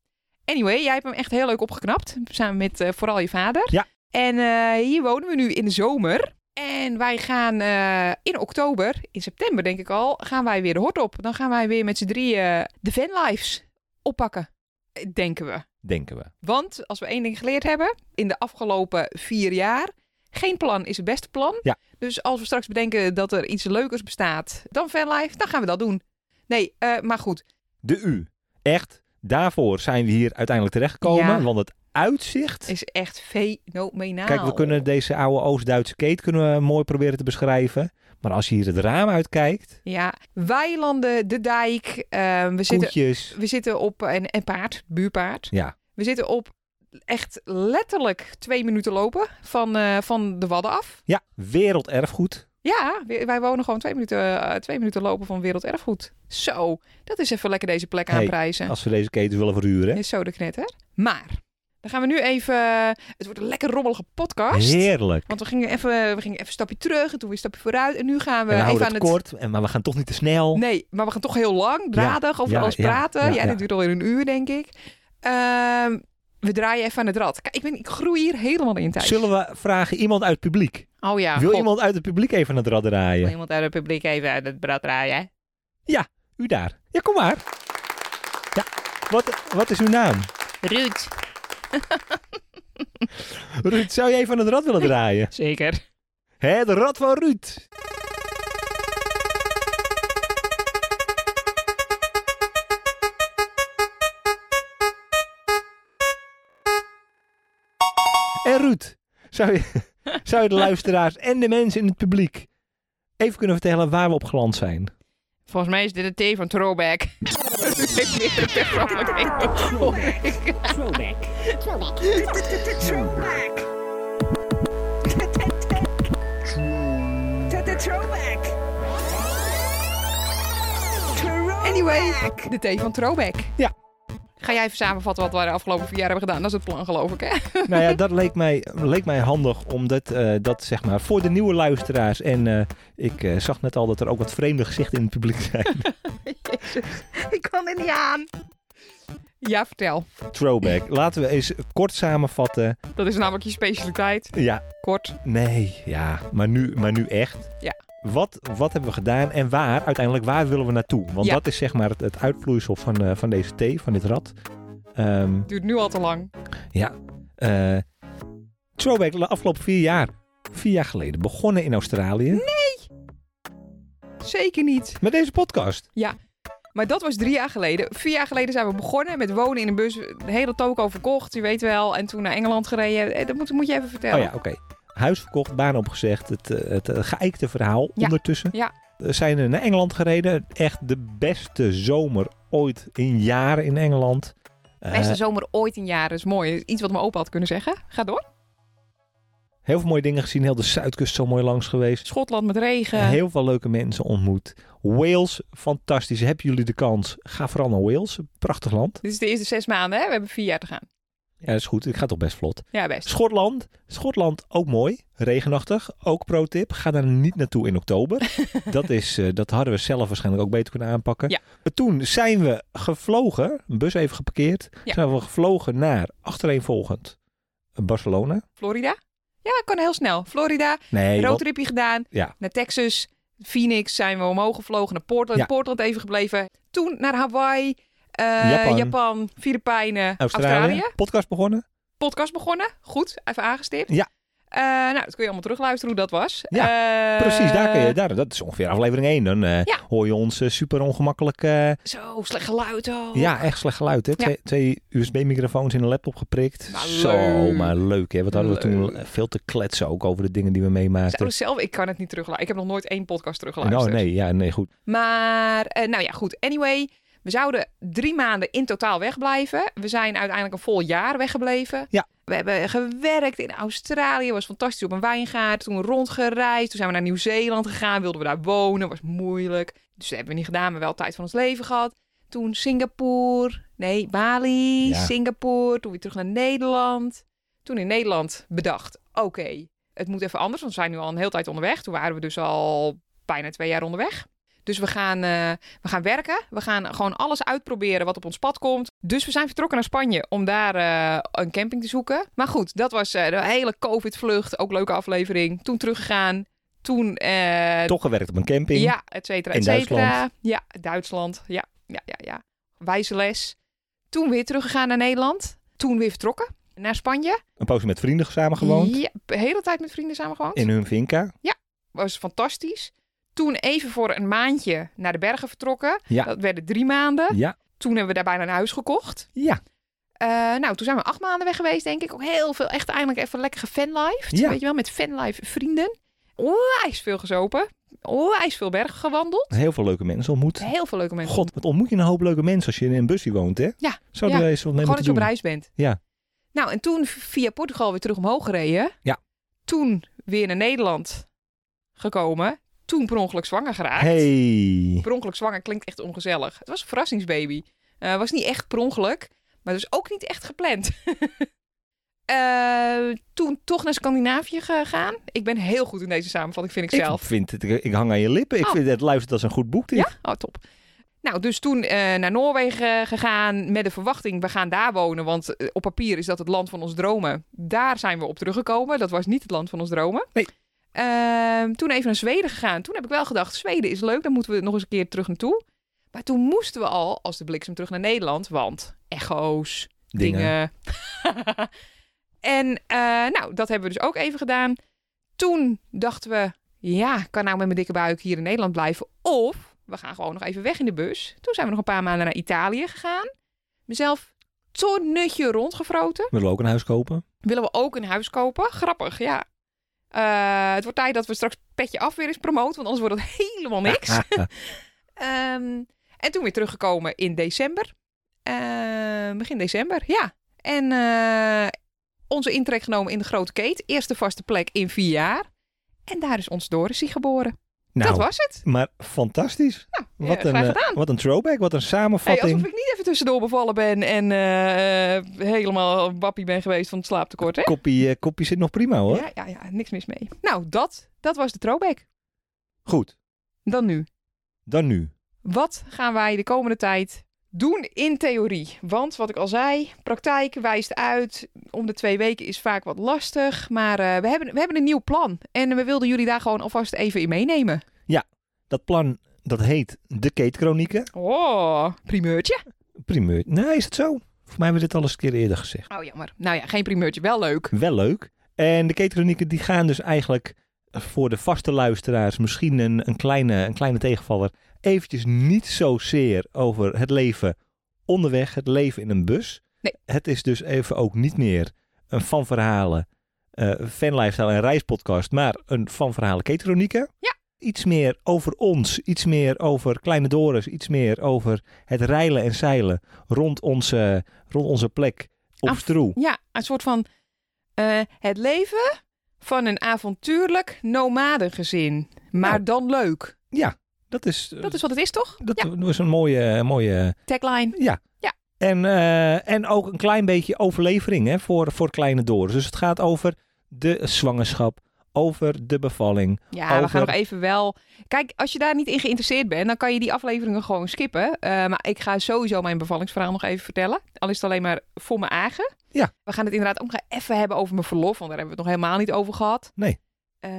[SPEAKER 1] Anyway, jij hebt hem echt heel leuk opgeknapt. Samen met eh, vooral je vader.
[SPEAKER 2] Ja.
[SPEAKER 1] En eh, hier wonen we nu in de zomer. En wij gaan eh, in oktober, in september denk ik al, gaan wij weer de hort op. Dan gaan wij weer met z'n drieën eh, de vanlives oppakken, eh, denken we.
[SPEAKER 2] denken we.
[SPEAKER 1] Want als we één ding geleerd hebben in de afgelopen vier jaar, geen plan is het beste plan.
[SPEAKER 2] Ja.
[SPEAKER 1] Dus als we straks bedenken dat er iets leukers bestaat dan fanlife, dan gaan we dat doen. Nee, eh, maar goed.
[SPEAKER 2] De U. Echt, daarvoor zijn we hier uiteindelijk terechtgekomen.
[SPEAKER 1] Ja.
[SPEAKER 2] Want het uitzicht...
[SPEAKER 1] Is echt fenomenaal.
[SPEAKER 2] Kijk, we kunnen deze oude Oost-Duitse keet kunnen we mooi proberen te beschrijven. Maar als je hier het raam uitkijkt,
[SPEAKER 1] Ja, weilanden, de dijk. eh, we, zitten,
[SPEAKER 2] koetjes.
[SPEAKER 1] we zitten op en, en paard, buurpaard.
[SPEAKER 2] Ja.
[SPEAKER 1] We zitten op echt letterlijk twee minuten lopen van, eh, van de Wadden af.
[SPEAKER 2] Ja, werelderfgoed.
[SPEAKER 1] Ja, we- wij wonen gewoon twee minuten, eh, twee minuten lopen van werelderfgoed. Zo, dat is even lekker deze plek
[SPEAKER 2] Hey,
[SPEAKER 1] aanprijzen.
[SPEAKER 2] Als we deze ketens willen verhuren.
[SPEAKER 1] Is zo de knetter. Maar, dan gaan we nu even... eh, Het wordt een lekker rommelige podcast.
[SPEAKER 2] Heerlijk.
[SPEAKER 1] Want we gingen, even, we gingen even een stapje terug en toen weer een stapje vooruit. En nu gaan we,
[SPEAKER 2] en
[SPEAKER 1] even
[SPEAKER 2] we houden
[SPEAKER 1] aan
[SPEAKER 2] het
[SPEAKER 1] het...
[SPEAKER 2] kort, en- maar we gaan toch niet te snel.
[SPEAKER 1] Nee, maar we gaan toch heel lang, dradig, over
[SPEAKER 2] ja,
[SPEAKER 1] alles
[SPEAKER 2] ja,
[SPEAKER 1] praten. Ja,
[SPEAKER 2] ja, ja.
[SPEAKER 1] dit duurt alweer een uur, denk ik. Ehm, we draaien even aan het rad. Kijk, ik, ben, ik groei hier helemaal in tijd.
[SPEAKER 2] Zullen we vragen iemand uit het publiek?
[SPEAKER 1] Oh ja,
[SPEAKER 2] Wil
[SPEAKER 1] God,
[SPEAKER 2] iemand uit het publiek even naar het rad
[SPEAKER 1] wil
[SPEAKER 2] draaien?
[SPEAKER 1] iemand uit het publiek even aan het rad draaien? hè?
[SPEAKER 2] U daar. Ja, kom maar. Ja, wat, wat is uw naam?
[SPEAKER 1] Ruud.
[SPEAKER 2] Ruud, zou jij even aan het rad willen draaien?
[SPEAKER 1] Zeker.
[SPEAKER 2] Het rad van Ruud. En Ruud, zou je, zou je de luisteraars en de mensen in het publiek even kunnen vertellen waar we op geland zijn?
[SPEAKER 1] Volgens mij is dit een thee van Throwback. ik meer een persoonlijk ding. Anyway, de thee van Throwback.
[SPEAKER 2] Ja.
[SPEAKER 1] Ga jij even samenvatten wat we de afgelopen vier jaar hebben gedaan? Dat is het plan, geloof ik, hè?
[SPEAKER 2] nou ja, dat leek mij, leek mij handig, omdat eh, dat zeg maar voor de nieuwe luisteraars. En eh, ik eh, zag net al dat er ook wat vreemde gezichten in het publiek zijn.
[SPEAKER 1] ik kan er niet aan. Ja, vertel.
[SPEAKER 2] Throwback. Laten we eens kort samenvatten.
[SPEAKER 1] Dat is namelijk je specialiteit.
[SPEAKER 2] Ja,
[SPEAKER 1] Kort.
[SPEAKER 2] nee, ja, maar nu, maar nu echt.
[SPEAKER 1] Ja.
[SPEAKER 2] Wat, wat hebben we gedaan en waar, uiteindelijk, waar willen we naartoe? Want
[SPEAKER 1] Ja.
[SPEAKER 2] dat is zeg maar het, het uitvloeisel van, eh, van deze thee, van dit rad. Ehm,
[SPEAKER 1] Duurt nu al te lang.
[SPEAKER 2] eh, throwback, de afgelopen vier jaar. Vier jaar geleden begonnen in Australië
[SPEAKER 1] Zeker niet.
[SPEAKER 2] met deze podcast.
[SPEAKER 1] Maar dat was drie jaar geleden. Vier jaar geleden zijn we begonnen met wonen in een bus. De hele toko verkocht, je weet wel. En toen naar Engeland gereden. Eh, Dat moet, moet je even vertellen.
[SPEAKER 2] Oh ja, oké. Huis verkocht, baan opgezegd. Het, eh, het eh, geëikte verhaal
[SPEAKER 1] Ja,
[SPEAKER 2] ondertussen.
[SPEAKER 1] ja.
[SPEAKER 2] We zijn eh, naar Engeland gereden. Echt de beste zomer ooit in jaren in Engeland. Eh,
[SPEAKER 1] Beste zomer ooit in jaren. Dat is mooi. Dat is iets wat mijn opa had kunnen zeggen. Ga door.
[SPEAKER 2] heel veel mooie dingen gezien. Heel de Zuidkust zo mooi langs geweest.
[SPEAKER 1] Schotland met regen.
[SPEAKER 2] Heel veel leuke mensen ontmoet. Wales, fantastisch. Hebben jullie de kans? Ga vooral naar Wales. Prachtig land.
[SPEAKER 1] Dit is de eerste zes maanden, hè? We hebben vier jaar te gaan.
[SPEAKER 2] Ja, dat is goed. Ik ga toch best vlot.
[SPEAKER 1] Ja, best.
[SPEAKER 2] Schotland. Schotland ook mooi. Regenachtig. Ook pro-tip. Ga daar niet naartoe in oktober. dat, is, eh, dat hadden we zelf waarschijnlijk ook beter kunnen aanpakken.
[SPEAKER 1] Ja.
[SPEAKER 2] Toen zijn we gevlogen. Een bus even geparkeerd.
[SPEAKER 1] Ja.
[SPEAKER 2] Zijn we gevlogen naar achtereenvolgend Barcelona.
[SPEAKER 1] Florida? Ja, kan heel snel. Florida,
[SPEAKER 2] Nee, want-
[SPEAKER 1] roadtripje gedaan.
[SPEAKER 2] Ja.
[SPEAKER 1] Naar Texas, Phoenix zijn we omhoog gevlogen. Naar Portland,
[SPEAKER 2] Ja.
[SPEAKER 1] Portland even gebleven. Toen naar Hawaii, eh,
[SPEAKER 2] Japan.
[SPEAKER 1] Japan. Filipijnen,
[SPEAKER 2] Australië.
[SPEAKER 1] Australië.
[SPEAKER 2] Podcast begonnen.
[SPEAKER 1] Podcast begonnen. Goed, even aangestipt.
[SPEAKER 2] Ja.
[SPEAKER 1] Eh, Eh, nou, dat kun je allemaal terugluisteren hoe dat was. Eh,
[SPEAKER 2] Precies, daar kun je, daar, dat is ongeveer aflevering 1. Dan eh,
[SPEAKER 1] Ja.
[SPEAKER 2] hoor je ons eh, super ongemakkelijk. eh,
[SPEAKER 1] Zo, slecht geluid ook.
[SPEAKER 2] Ja, echt slecht geluid. Hè?
[SPEAKER 1] Ja.
[SPEAKER 2] Twee, twee USB-microfoons in een laptop geprikt.
[SPEAKER 1] Maar
[SPEAKER 2] Zo,
[SPEAKER 1] leuk.
[SPEAKER 2] maar leuk. Hè? Wat hadden we toen
[SPEAKER 1] Leuk.
[SPEAKER 2] veel te kletsen ook over de dingen die we
[SPEAKER 1] Zouden
[SPEAKER 2] meemaakten.
[SPEAKER 1] ze zelf, ik kan het niet terugluisteren. Ik heb nog nooit één podcast
[SPEAKER 2] En, oh
[SPEAKER 1] teruggeluisterd.
[SPEAKER 2] nee, ja, nee, goed.
[SPEAKER 1] Maar, eh, nou ja, goed. Anyway, we zouden drie maanden in totaal wegblijven. We zijn uiteindelijk een vol jaar weggebleven.
[SPEAKER 2] Ja.
[SPEAKER 1] We hebben gewerkt in Australië. Was fantastisch op een wijngaard. Toen rondgereisd. Toen zijn we naar Nieuw-Zeeland gegaan. Wilden we daar wonen. Was moeilijk. Dus dat hebben we niet gedaan. Maar wel tijd van ons leven gehad. Toen Singapore. Nee, Bali.
[SPEAKER 2] Ja.
[SPEAKER 1] Singapore. Toen weer terug naar Nederland. Toen in Nederland bedacht. Oké, het moet even anders. Want we zijn nu al een hele tijd onderweg. Toen waren we dus al bijna twee jaar onderweg. Dus we gaan, eh, we gaan werken. We gaan gewoon alles uitproberen wat op ons pad komt. Dus we zijn vertrokken naar Spanje om daar eh, een camping te zoeken. Maar goed, dat was eh, de hele COVID-vlucht. Ook leuke aflevering. Toen teruggegaan. Toen. eh,
[SPEAKER 2] Toch gewerkt op een camping.
[SPEAKER 1] ja, et cetera,
[SPEAKER 2] In
[SPEAKER 1] et cetera.
[SPEAKER 2] Duitsland.
[SPEAKER 1] Ja, Duitsland. Ja, ja, ja, ja. Wijze les. Toen weer teruggegaan naar Nederland. Toen weer vertrokken naar Spanje.
[SPEAKER 2] Een poosje met vrienden samen gewoond.
[SPEAKER 1] Ja, de hele tijd met vrienden samen gewoond.
[SPEAKER 2] In hun vinca.
[SPEAKER 1] was fantastisch. Toen even voor een maandje naar de bergen vertrokken.
[SPEAKER 2] Ja.
[SPEAKER 1] Dat werden drie maanden.
[SPEAKER 2] Ja.
[SPEAKER 1] Toen hebben we daar bijna een huis gekocht.
[SPEAKER 2] Ja.
[SPEAKER 1] Eh, nou, toen zijn we acht maanden weg geweest, denk ik. Ook heel veel, echt eindelijk even lekker gefanlifed.
[SPEAKER 2] Ja.
[SPEAKER 1] Weet je wel, met fanlife vrienden. Onwijs veel gezopen. Onwijs veel bergen gewandeld.
[SPEAKER 2] Heel veel leuke mensen ontmoet.
[SPEAKER 1] Heel veel leuke mensen.
[SPEAKER 2] God, wat ontmoet je een hoop leuke mensen als je in een busje woont, hè?
[SPEAKER 1] Ja,
[SPEAKER 2] Zouden
[SPEAKER 1] ja.
[SPEAKER 2] wij eens wat mee
[SPEAKER 1] Gewoon dat je
[SPEAKER 2] moeten
[SPEAKER 1] op
[SPEAKER 2] doen?
[SPEAKER 1] reis bent.
[SPEAKER 2] Ja.
[SPEAKER 1] Nou, en toen via Portugal weer terug omhoog gereden.
[SPEAKER 2] Ja.
[SPEAKER 1] Toen weer naar Nederland gekomen. Toen per ongeluk zwanger geraakt.
[SPEAKER 2] Hey.
[SPEAKER 1] per ongeluk zwanger klinkt echt ongezellig. Het was een verrassingsbaby. Eh was niet echt per ongeluk, maar dus ook niet echt gepland. Eh, toen toch naar Scandinavië gegaan. Ik ben heel goed in deze samenvatting, vind ik
[SPEAKER 2] Ik,
[SPEAKER 1] zelf.
[SPEAKER 2] vind het, ik hang aan je lippen. Ik
[SPEAKER 1] Oh.
[SPEAKER 2] vind het luistert als een goed boek dit.
[SPEAKER 1] Ja? Oh, top. Nou, dus toen eh, naar Noorwegen eh, gegaan met de verwachting, we gaan daar wonen. Want eh, op papier is dat het land van ons dromen. Daar zijn we op teruggekomen. Dat was niet het land van ons dromen.
[SPEAKER 2] Nee.
[SPEAKER 1] Ehm, toen even naar Zweden gegaan. Toen heb ik wel gedacht, Zweden is leuk, daar moeten we nog eens een keer terug naartoe. Maar toen moesten we al, als de bliksem, terug naar Nederland. Want echo's, dingen. en eh, nou, dat hebben we dus ook even gedaan. Toen dachten we, ja, ik kan nou met mijn dikke buik hier in Nederland blijven. Of we gaan gewoon nog even weg in de bus. Toen zijn we nog een paar maanden naar Italië gegaan. Mezelf tonnetje rondgevroten.
[SPEAKER 2] Willen we ook een huis kopen?
[SPEAKER 1] Willen we ook een huis kopen? Grappig, ja. Eh, het wordt tijd dat we straks petje af weer eens promoten, want anders wordt het helemaal niks. Ehm, en toen weer teruggekomen in december. Ehm, begin december, ja. En eh, onze intrek genomen in de Grote Keet. Eerste vaste plek in vier jaar. En daar is ons Dorisie geboren.
[SPEAKER 2] nou,
[SPEAKER 1] Dat was het.
[SPEAKER 2] maar fantastisch.
[SPEAKER 1] Nou,
[SPEAKER 2] Wat,
[SPEAKER 1] eh,
[SPEAKER 2] een,
[SPEAKER 1] graag
[SPEAKER 2] eh,
[SPEAKER 1] gedaan.
[SPEAKER 2] wat een throwback, wat een
[SPEAKER 1] Hey,
[SPEAKER 2] samenvatting.
[SPEAKER 1] alsof ik niet even tussendoor bevallen ben en eh, eh, helemaal wappie ben geweest van het slaaptekort, hè?
[SPEAKER 2] Koppie, eh, koppie zit nog prima hoor.
[SPEAKER 1] Ja, ja, ja, niks mis mee. Nou, dat, dat was de throwback.
[SPEAKER 2] Goed,
[SPEAKER 1] Dan nu.
[SPEAKER 2] dan nu.
[SPEAKER 1] Wat gaan wij de komende tijd doen in theorie? Want wat ik al zei, praktijk wijst uit. Om de twee weken is vaak wat lastig. Maar eh, we, hebben, we hebben een nieuw plan. En we wilden jullie daar gewoon alvast even in meenemen.
[SPEAKER 2] Dat plan, dat heet de Keetkronieken.
[SPEAKER 1] Oh, primeurtje.
[SPEAKER 2] Primeur. Nee, is het zo? Voor mij hebben we dit al eens een keer eerder gezegd.
[SPEAKER 1] Oh, jammer. Nou ja, geen primeurtje. Wel leuk.
[SPEAKER 2] Wel leuk. En de Keetkronieken die gaan dus eigenlijk voor de vaste luisteraars misschien een, een, kleine, een kleine tegenvaller. Eventjes niet zozeer over het leven onderweg, het leven in een bus.
[SPEAKER 1] Nee.
[SPEAKER 2] Het is dus even ook niet meer een van verhalen, eh fan lifestyle en reispodcast, maar een van verhalen Keetkronieken.
[SPEAKER 1] Ja.
[SPEAKER 2] Iets meer over ons, iets meer over Kleine Doris, iets meer over het reilen en zeilen rond onze, rond onze plek op
[SPEAKER 1] Af-
[SPEAKER 2] stroe.
[SPEAKER 1] Ja, een soort van eh, het leven van een avontuurlijk nomadengezin. Maar
[SPEAKER 2] Nou.
[SPEAKER 1] dan leuk.
[SPEAKER 2] Dat is, eh,
[SPEAKER 1] Dat is wat het is, toch?
[SPEAKER 2] Dat
[SPEAKER 1] ja,
[SPEAKER 2] was een mooie, mooie
[SPEAKER 1] tagline.
[SPEAKER 2] ja.
[SPEAKER 1] Ja.
[SPEAKER 2] En, eh, en ook een klein beetje overlevering hè, voor, voor kleine Doris. Dus het gaat over de zwangerschap, over de bevalling.
[SPEAKER 1] Ja, we
[SPEAKER 2] Over-
[SPEAKER 1] gaan nog even wel. Kijk, als je daar niet in geïnteresseerd bent, dan kan je die afleveringen gewoon skippen. Eh, maar ik ga sowieso mijn bevallingsverhaal nog even vertellen. Al is het alleen maar voor mijn eigen.
[SPEAKER 2] Ja.
[SPEAKER 1] We gaan het inderdaad ook nog even hebben over mijn verlof, want daar hebben we het nog helemaal niet over gehad.
[SPEAKER 2] Nee.
[SPEAKER 1] Eh,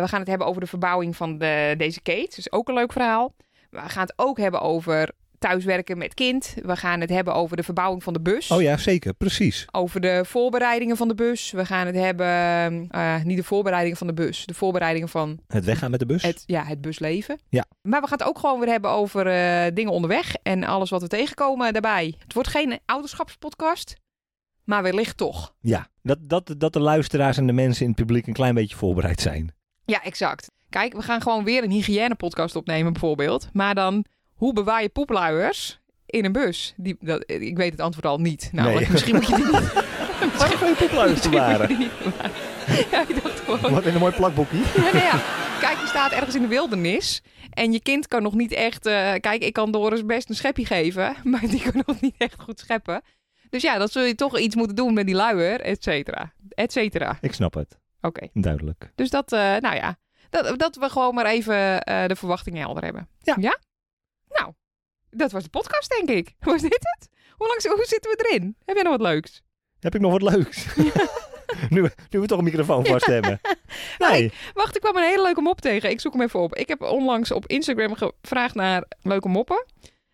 [SPEAKER 1] we gaan het hebben over de verbouwing van de, deze Kate. Dat is ook een leuk verhaal. We gaan het ook hebben over thuiswerken met kind. We gaan het hebben over de verbouwing van de bus.
[SPEAKER 2] Oh ja, zeker. Precies.
[SPEAKER 1] Over de voorbereidingen van de bus. We gaan het hebben, eh, niet de voorbereidingen van de bus, de voorbereidingen van
[SPEAKER 2] Het weggaan met de bus.
[SPEAKER 1] het, ja, het busleven.
[SPEAKER 2] Ja.
[SPEAKER 1] Maar we gaan het ook gewoon weer hebben over eh, dingen onderweg en alles wat we tegenkomen daarbij. Het wordt geen ouderschapspodcast, maar wellicht toch.
[SPEAKER 2] Ja, dat, dat, dat de luisteraars en de mensen in het publiek een klein beetje voorbereid zijn.
[SPEAKER 1] Ja, exact. Kijk, we gaan gewoon weer een hygiënepodcast opnemen bijvoorbeeld. Maar dan, hoe bewaar je poepluiers in een bus? Die, dat, ik weet het antwoord al niet. Nou,
[SPEAKER 2] Nee.
[SPEAKER 1] misschien moet je die niet...
[SPEAKER 2] Wat een poepluister waren.
[SPEAKER 1] Ja, ik dacht gewoon...
[SPEAKER 2] Wat in een mooi plakboekje.
[SPEAKER 1] Ja, nou ja. Kijk, je staat ergens in de wildernis. En je kind kan nog niet echt. eh, kijk, ik kan Doris best een schepje geven. Maar die kan nog niet echt goed scheppen. Dus ja, dan zul je toch iets moeten doen met die luier, et cetera. Et cetera. Oké.
[SPEAKER 2] Ik snap het. Duidelijk.
[SPEAKER 1] Dus dat, eh, nou ja. Dat, dat we gewoon maar even eh, de verwachtingen helder hebben.
[SPEAKER 2] Ja.
[SPEAKER 1] Nou, dat was de podcast, denk ik. Was dit het? Hoe, lang, hoe zitten we erin? Heb jij nog wat leuks?
[SPEAKER 2] Heb ik nog wat leuks? nu, nu we toch een microfoon vast hebben. Nee.
[SPEAKER 1] Wacht, ik kwam een hele leuke mop tegen. Ik zoek hem even op. Ik heb onlangs op Instagram gevraagd naar leuke moppen.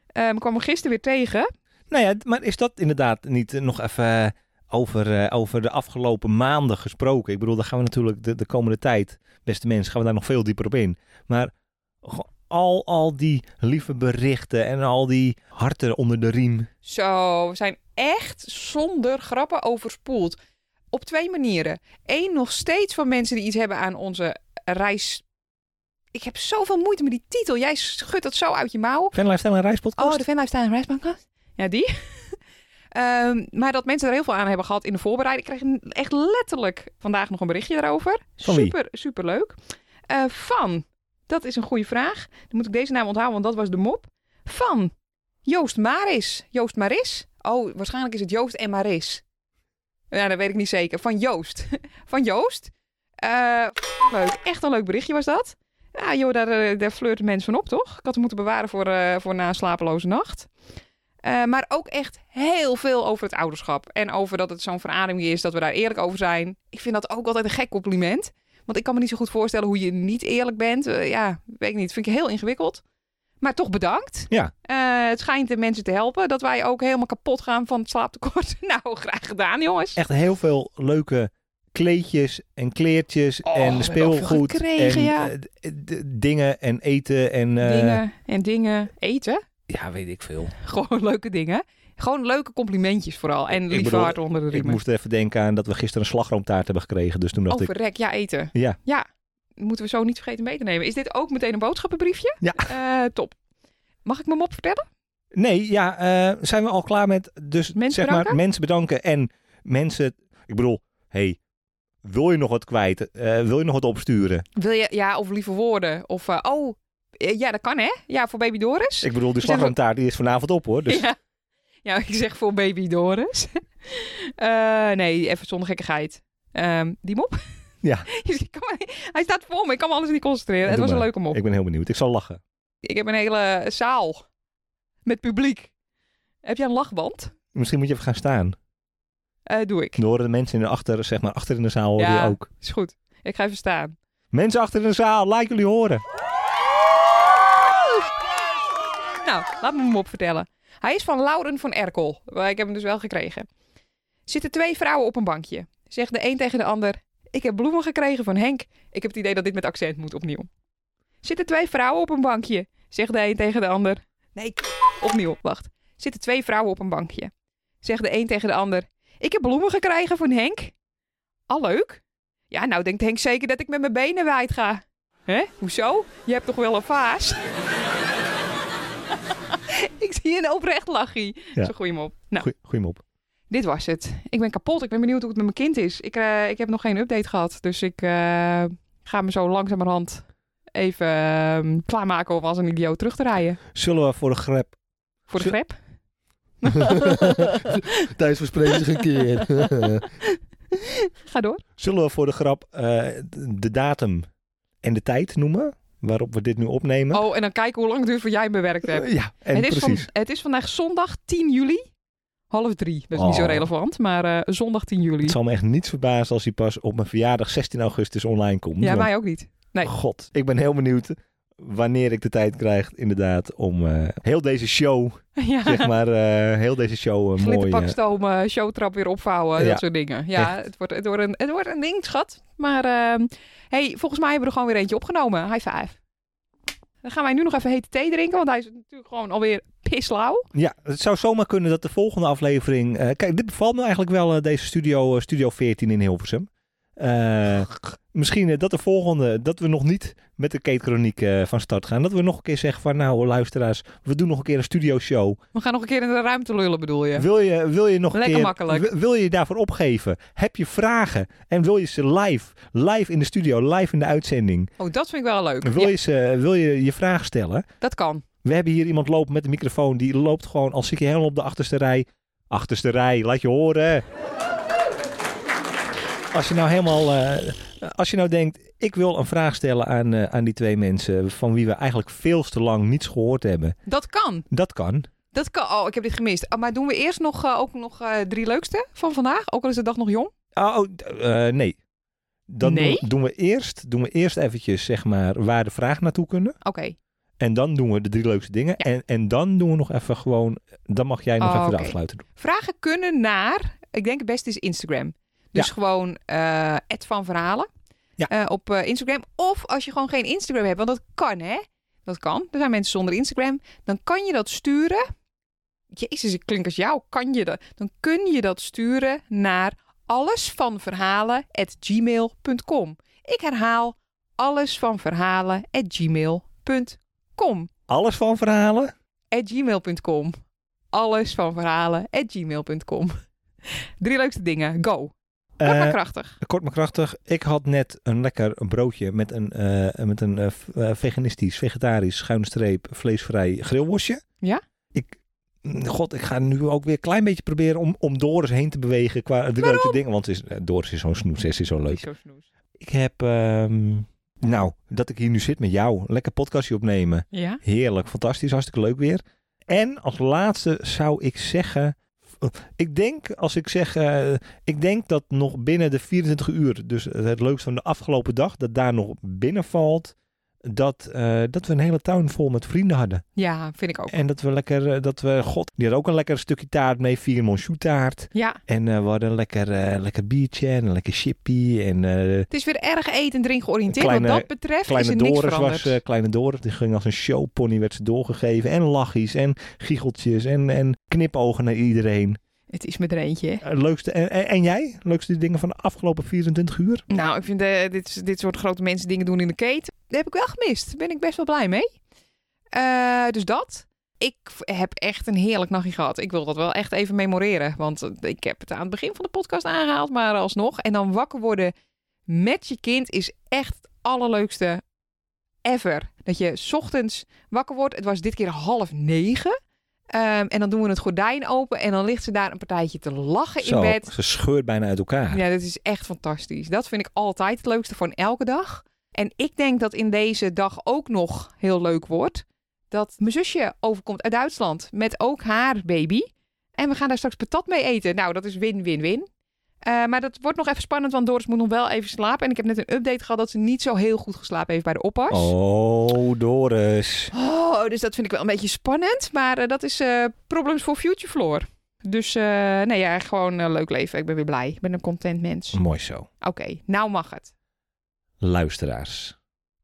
[SPEAKER 1] Ehm, ik kwam hem gisteren weer tegen.
[SPEAKER 2] Nou ja, maar is dat inderdaad niet eh, nog even eh, over, eh, over de afgelopen maanden gesproken? Ik bedoel, daar gaan we natuurlijk de, de komende tijd, beste mensen, gaan we daar nog veel dieper op in. Maar gewoon al, al die lieve berichten en al die harten onder de riem.
[SPEAKER 1] Zo, we zijn echt zonder grappen overspoeld. Op twee manieren. Eén, nog steeds van mensen die iets hebben aan onze reis. Ik heb zoveel moeite met die titel. Jij schudt dat zo uit je mouw.
[SPEAKER 2] Fan Lifestyle en
[SPEAKER 1] Oh,
[SPEAKER 2] Reispodcast?
[SPEAKER 1] de Venlijf staan reisbankkast. Ja, die. Ehm, maar dat mensen er heel veel aan hebben gehad in de voorbereiding. Ik kreeg echt letterlijk vandaag nog een berichtje daarover.
[SPEAKER 2] Van wie?
[SPEAKER 1] Super, super leuk. van, dat is een goede vraag. Dan moet ik deze naam onthouden, want dat was de mop. Van Joost Maris. Joost Maris? Oh, waarschijnlijk is het Joost en Maris. Ja, dat weet ik niet zeker. Van Joost. Van Joost. Eh, leuk. Echt een leuk berichtje was dat. Ja, joh, daar, eh, daar flirt mensen van op, toch? Ik had hem moeten bewaren voor, eh, voor na een slapeloze nacht. Eh, maar ook echt heel veel over het ouderschap. En over dat het zo'n verademing is, dat we daar eerlijk over zijn. Ik vind dat ook altijd een gek compliment. Want ik kan me niet zo goed voorstellen hoe je niet eerlijk bent. Eh, ja, weet ik niet. Vind ik heel ingewikkeld. Maar toch bedankt.
[SPEAKER 2] Ja.
[SPEAKER 1] Eh, het schijnt de mensen te helpen dat wij ook helemaal kapot gaan van het slaaptekort. nou, graag gedaan, jongens.
[SPEAKER 2] Echt heel veel leuke kleedjes en kleertjes
[SPEAKER 1] Oh, we hebben
[SPEAKER 2] en
[SPEAKER 1] ook
[SPEAKER 2] speelgoed.
[SPEAKER 1] veel gekregen,
[SPEAKER 2] en
[SPEAKER 1] ja.
[SPEAKER 2] eh, d- d- dingen en eten en... eh,
[SPEAKER 1] dingen en dingen. Eten.
[SPEAKER 2] Ja, weet ik veel.
[SPEAKER 1] Gewoon leuke dingen. Gewoon leuke complimentjes vooral. En
[SPEAKER 2] Ik
[SPEAKER 1] lieve
[SPEAKER 2] bedoel,
[SPEAKER 1] hart onder de
[SPEAKER 2] Ik
[SPEAKER 1] riemen.
[SPEAKER 2] moest er even denken aan dat we gisteren een slagroomtaart hebben gekregen. Dus toen dacht ik,
[SPEAKER 1] Overrek, ja, eten.
[SPEAKER 2] Ja.
[SPEAKER 1] Ja, moeten we zo niet vergeten mee te nemen. Is dit ook meteen een boodschappenbriefje?
[SPEAKER 2] Ja.
[SPEAKER 1] Eh, top. Mag ik mijn mop vertellen?
[SPEAKER 2] Nee, ja, eh, zijn we al klaar met dus
[SPEAKER 1] Mensen
[SPEAKER 2] zeg maar
[SPEAKER 1] bedanken?
[SPEAKER 2] mensen bedanken en mensen. Ik bedoel, hey, wil je nog wat kwijt? Eh, wil je nog wat opsturen?
[SPEAKER 1] Wil je, ja, of lieve woorden. Of, eh, oh, eh, ja, dat kan hè. Ja, voor baby Doris.
[SPEAKER 2] Ik bedoel, die
[SPEAKER 1] Zeg maar-
[SPEAKER 2] slagroomtaart die is vanavond op, hoor. Dus
[SPEAKER 1] Ja. ja, ik zeg voor baby Doris. Eh, nee, even zonder gekkigheid. Ehm, die mop?
[SPEAKER 2] Ja.
[SPEAKER 1] Je kan me- Hij staat voor me, ik kan me alles niet concentreren.
[SPEAKER 2] Ja,
[SPEAKER 1] het
[SPEAKER 2] doe
[SPEAKER 1] was een
[SPEAKER 2] maar.
[SPEAKER 1] leuke mop.
[SPEAKER 2] ik ben heel benieuwd. Ik zal lachen.
[SPEAKER 1] Ik heb een hele zaal met publiek. Heb jij een lachband?
[SPEAKER 2] Misschien moet je even gaan staan.
[SPEAKER 1] Eh, doe ik.
[SPEAKER 2] Dan horen de mensen in de achter, zeg maar, achter in de zaal horen
[SPEAKER 1] Ja.
[SPEAKER 2] je ook.
[SPEAKER 1] Is goed. Ik ga even staan.
[SPEAKER 2] Mensen achter in de zaal, laat jullie horen.
[SPEAKER 1] Nou, laat me hem opvertellen. Hij is van Lauren van Erkel. Maar Ik heb hem dus wel gekregen. Zitten twee vrouwen op een bankje. Zegt de een tegen de ander: Ik heb bloemen gekregen van Henk. Ik heb het idee dat dit met accent moet opnieuw. Zitten twee vrouwen op een bankje. Zegt de een tegen de ander: Nee, k- opnieuw, wacht. Zitten twee vrouwen op een bankje. Zegt de een tegen de ander: Ik heb bloemen gekregen van Henk. Al leuk. Ja, nou denkt Henk zeker dat ik met mijn benen wijd ga. Hè? Hoezo? Je hebt toch wel een vaas? ik zie een oprecht lachie.
[SPEAKER 2] Ja.
[SPEAKER 1] Zo gooi hem op. Nou,
[SPEAKER 2] Goeie, goeie mop.
[SPEAKER 1] dit was het. Ik ben kapot. Ik ben benieuwd hoe het met mijn kind is. Ik, eh, ik heb nog geen update gehad. Dus ik eh, ga me zo langzamerhand even ehm, klaarmaken om als een idioot terug te rijden.
[SPEAKER 2] Zullen we voor de grep
[SPEAKER 1] Voor de
[SPEAKER 2] Zo-
[SPEAKER 1] grep.
[SPEAKER 2] Thuis verspreken ze een keer.
[SPEAKER 1] Ga door.
[SPEAKER 2] Zullen we voor de grap eh, de datum en de tijd noemen waarop we dit nu opnemen?
[SPEAKER 1] Oh, en dan kijken hoe lang het duurt voor jij hem bewerkt hebt.
[SPEAKER 2] Eh, Ja, en
[SPEAKER 1] het, is
[SPEAKER 2] precies.
[SPEAKER 1] van- het is vandaag zondag 10 juli. Half drie. Dat is niet zo
[SPEAKER 2] Oh.
[SPEAKER 1] relevant, maar eh, zondag 10 juli.
[SPEAKER 2] Het zal me echt niets verbazen als hij pas op mijn verjaardag 16 augustus online komt.
[SPEAKER 1] Ja,
[SPEAKER 2] want-
[SPEAKER 1] mij ook niet. Nee.
[SPEAKER 2] God, ik ben heel benieuwd wanneer ik de tijd krijg, inderdaad, om eh, heel deze show,
[SPEAKER 1] ja.
[SPEAKER 2] zeg maar, eh, heel deze show eh, mooi... eh,
[SPEAKER 1] Glitterpakstoom, eh, showtrap weer opvouwen,
[SPEAKER 2] Ja,
[SPEAKER 1] dat soort dingen. Ja, het wordt, het, wordt een, het wordt een ding, schat. Maar ehm, hey, volgens mij hebben we er gewoon weer eentje opgenomen. High five. Dan gaan wij nu nog even hete thee drinken, want hij is natuurlijk gewoon alweer pislauw.
[SPEAKER 2] Ja, het zou zomaar kunnen dat de volgende aflevering... eh, kijk, dit bevalt me eigenlijk wel, eh, deze studio, eh, studio 14 in Hilversum. Eh, misschien eh, dat de volgende, dat we nog niet met de Kate Chroniek eh, van start gaan. Dat we nog een keer zeggen van, nou luisteraars, we doen nog een keer een studio show.
[SPEAKER 1] We gaan nog een keer in de ruimte lullen, bedoel je?
[SPEAKER 2] Wil je, wil je nog een
[SPEAKER 1] Lekker
[SPEAKER 2] keer,
[SPEAKER 1] makkelijk.
[SPEAKER 2] wi- Wil je je daarvoor opgeven? Heb je vragen? En wil je ze live, live in de studio, live in de uitzending?
[SPEAKER 1] Oh, dat vind ik wel leuk.
[SPEAKER 2] Wil,
[SPEAKER 1] Ja,
[SPEAKER 2] je, ze, wil je je vraag stellen?
[SPEAKER 1] dat kan.
[SPEAKER 2] We hebben hier iemand lopen met een microfoon. Die loopt gewoon als ik helemaal op de achterste rij. Achterste rij, laat je horen. Als je nou helemaal. eh, als je nou denkt. Ik wil een vraag stellen aan, eh, aan die twee mensen. van wie we eigenlijk veel te lang niets gehoord hebben.
[SPEAKER 1] Dat kan.
[SPEAKER 2] Dat kan.
[SPEAKER 1] Dat kan. Oh, ik heb dit gemist. Ah, maar doen we eerst nog, eh, ook nog eh, drie leukste van vandaag? Ook al is de dag nog jong.
[SPEAKER 2] Oh, d- eh, nee. Dan doen-
[SPEAKER 1] Nee?
[SPEAKER 2] doen, we eerst, doen we eerst eventjes zeg maar waar de vraag naartoe kunnen.
[SPEAKER 1] Oké.
[SPEAKER 2] En dan doen we de drie leukste dingen. En, en dan doen we nog even gewoon. Dan mag jij nog
[SPEAKER 1] Oh,
[SPEAKER 2] even de
[SPEAKER 1] oké.
[SPEAKER 2] afsluiten doen.
[SPEAKER 1] Vragen kunnen naar, ik denk het beste is Instagram. Dus
[SPEAKER 2] Ja.
[SPEAKER 1] gewoon eh Ed van Verhalen
[SPEAKER 2] Ja.
[SPEAKER 1] eh, op eh, Instagram. Of als je gewoon geen Instagram hebt, want dat kan hè. Dat kan. Er zijn mensen zonder Instagram. Dan kan je dat sturen. Jezus, ik klink als jou. Kan je dat? Dan kun je dat sturen naar allesvanverhalen.gmail.com. Ik herhaal allesvanverhalen.gmail.com
[SPEAKER 2] Alles van verhalen?
[SPEAKER 1] at gmail.com. Alles van verhalen at gmail.com. Drie leukste dingen. Go. Kort
[SPEAKER 2] Eh,
[SPEAKER 1] maar krachtig.
[SPEAKER 2] Kort maar krachtig. Ik had net een lekker broodje met een, eh, met een eh, v- eh, veganistisch, vegetarisch, schuine streep, vleesvrij grillworstje.
[SPEAKER 1] Ja?
[SPEAKER 2] Ik, mm, god, ik ga nu ook weer een klein beetje proberen om, om Doris heen te bewegen qua de leuke dingen. Want het is, eh, Doris is zo'n snoes, ze is zo leuk.
[SPEAKER 1] Is zo snoes.
[SPEAKER 2] Ik heb, ehm, nou, dat ik hier nu zit met jou, lekker podcastje opnemen.
[SPEAKER 1] Ja?
[SPEAKER 2] Heerlijk, fantastisch, hartstikke leuk weer. En als laatste zou ik zeggen, ik denk als ik zeg, eh, ik denk dat nog binnen de 24 uur, dus het leukste van de afgelopen dag, dat daar nog binnen valt, dat, eh, dat we een hele tuin vol met vrienden hadden.
[SPEAKER 1] Ja, vind ik ook.
[SPEAKER 2] En dat we lekker, eh, dat we, god, die had ook een lekker stukje taart mee, vier monsieur taart.
[SPEAKER 1] Ja.
[SPEAKER 2] En eh, we hadden een lekker, eh, lekker biertje en een lekker chippy en eh,
[SPEAKER 1] Het is weer erg eten en drink georiënteerd.
[SPEAKER 2] Kleine-
[SPEAKER 1] Wat dat betreft is
[SPEAKER 2] Kleine
[SPEAKER 1] er niks
[SPEAKER 2] Doris
[SPEAKER 1] veranderd.
[SPEAKER 2] was, eh, Kleine Doris, die ging als een showpony, werd ze doorgegeven. En lachies en giecheltjes en, en knipogen naar iedereen.
[SPEAKER 1] Het is met er eentje. hè?
[SPEAKER 2] Eh, leukste, en, en, en jij? Leukste dingen van de afgelopen 24 uur?
[SPEAKER 1] Nou, ik vind eh, dit, dit soort grote mensen dingen doen in de keten. Dat heb ik wel gemist. Daar ben ik best wel blij mee. Eh, dus dat. Ik v- heb echt een heerlijk nachtje gehad. Ik wil dat wel echt even memoreren. Want eh, ik heb het aan het begin van de podcast aangehaald, maar alsnog. En dan wakker worden met je kind is echt het allerleukste ever. Dat je 's ochtends wakker wordt. Het was dit keer half negen. Ehm, en dan doen we het gordijn open. En dan ligt ze daar een partijtje te lachen in bed.
[SPEAKER 2] ze scheurt bijna uit elkaar.
[SPEAKER 1] Ja, dat is echt fantastisch. Dat vind ik altijd het leukste van elke dag. En ik denk dat in deze dag ook nog heel leuk wordt dat mijn zusje overkomt uit Duitsland met ook haar baby. En we gaan daar straks patat mee eten. Nou, dat is win-win-win. Eh, maar dat wordt nog even spannend, want Doris moet nog wel even slapen. En ik heb net een update gehad dat ze niet zo heel goed geslapen heeft bij de oppas.
[SPEAKER 2] Oh, Doris.
[SPEAKER 1] Oh, dus dat vind ik wel een beetje spannend. Maar eh, dat is eh, Problems for Future Floor. Dus eh, nee, ja, gewoon een leuk leven. Ik ben weer blij. Ik ben een content mens.
[SPEAKER 2] Mooi zo.
[SPEAKER 1] Oké, nou mag het.
[SPEAKER 2] Luisteraars.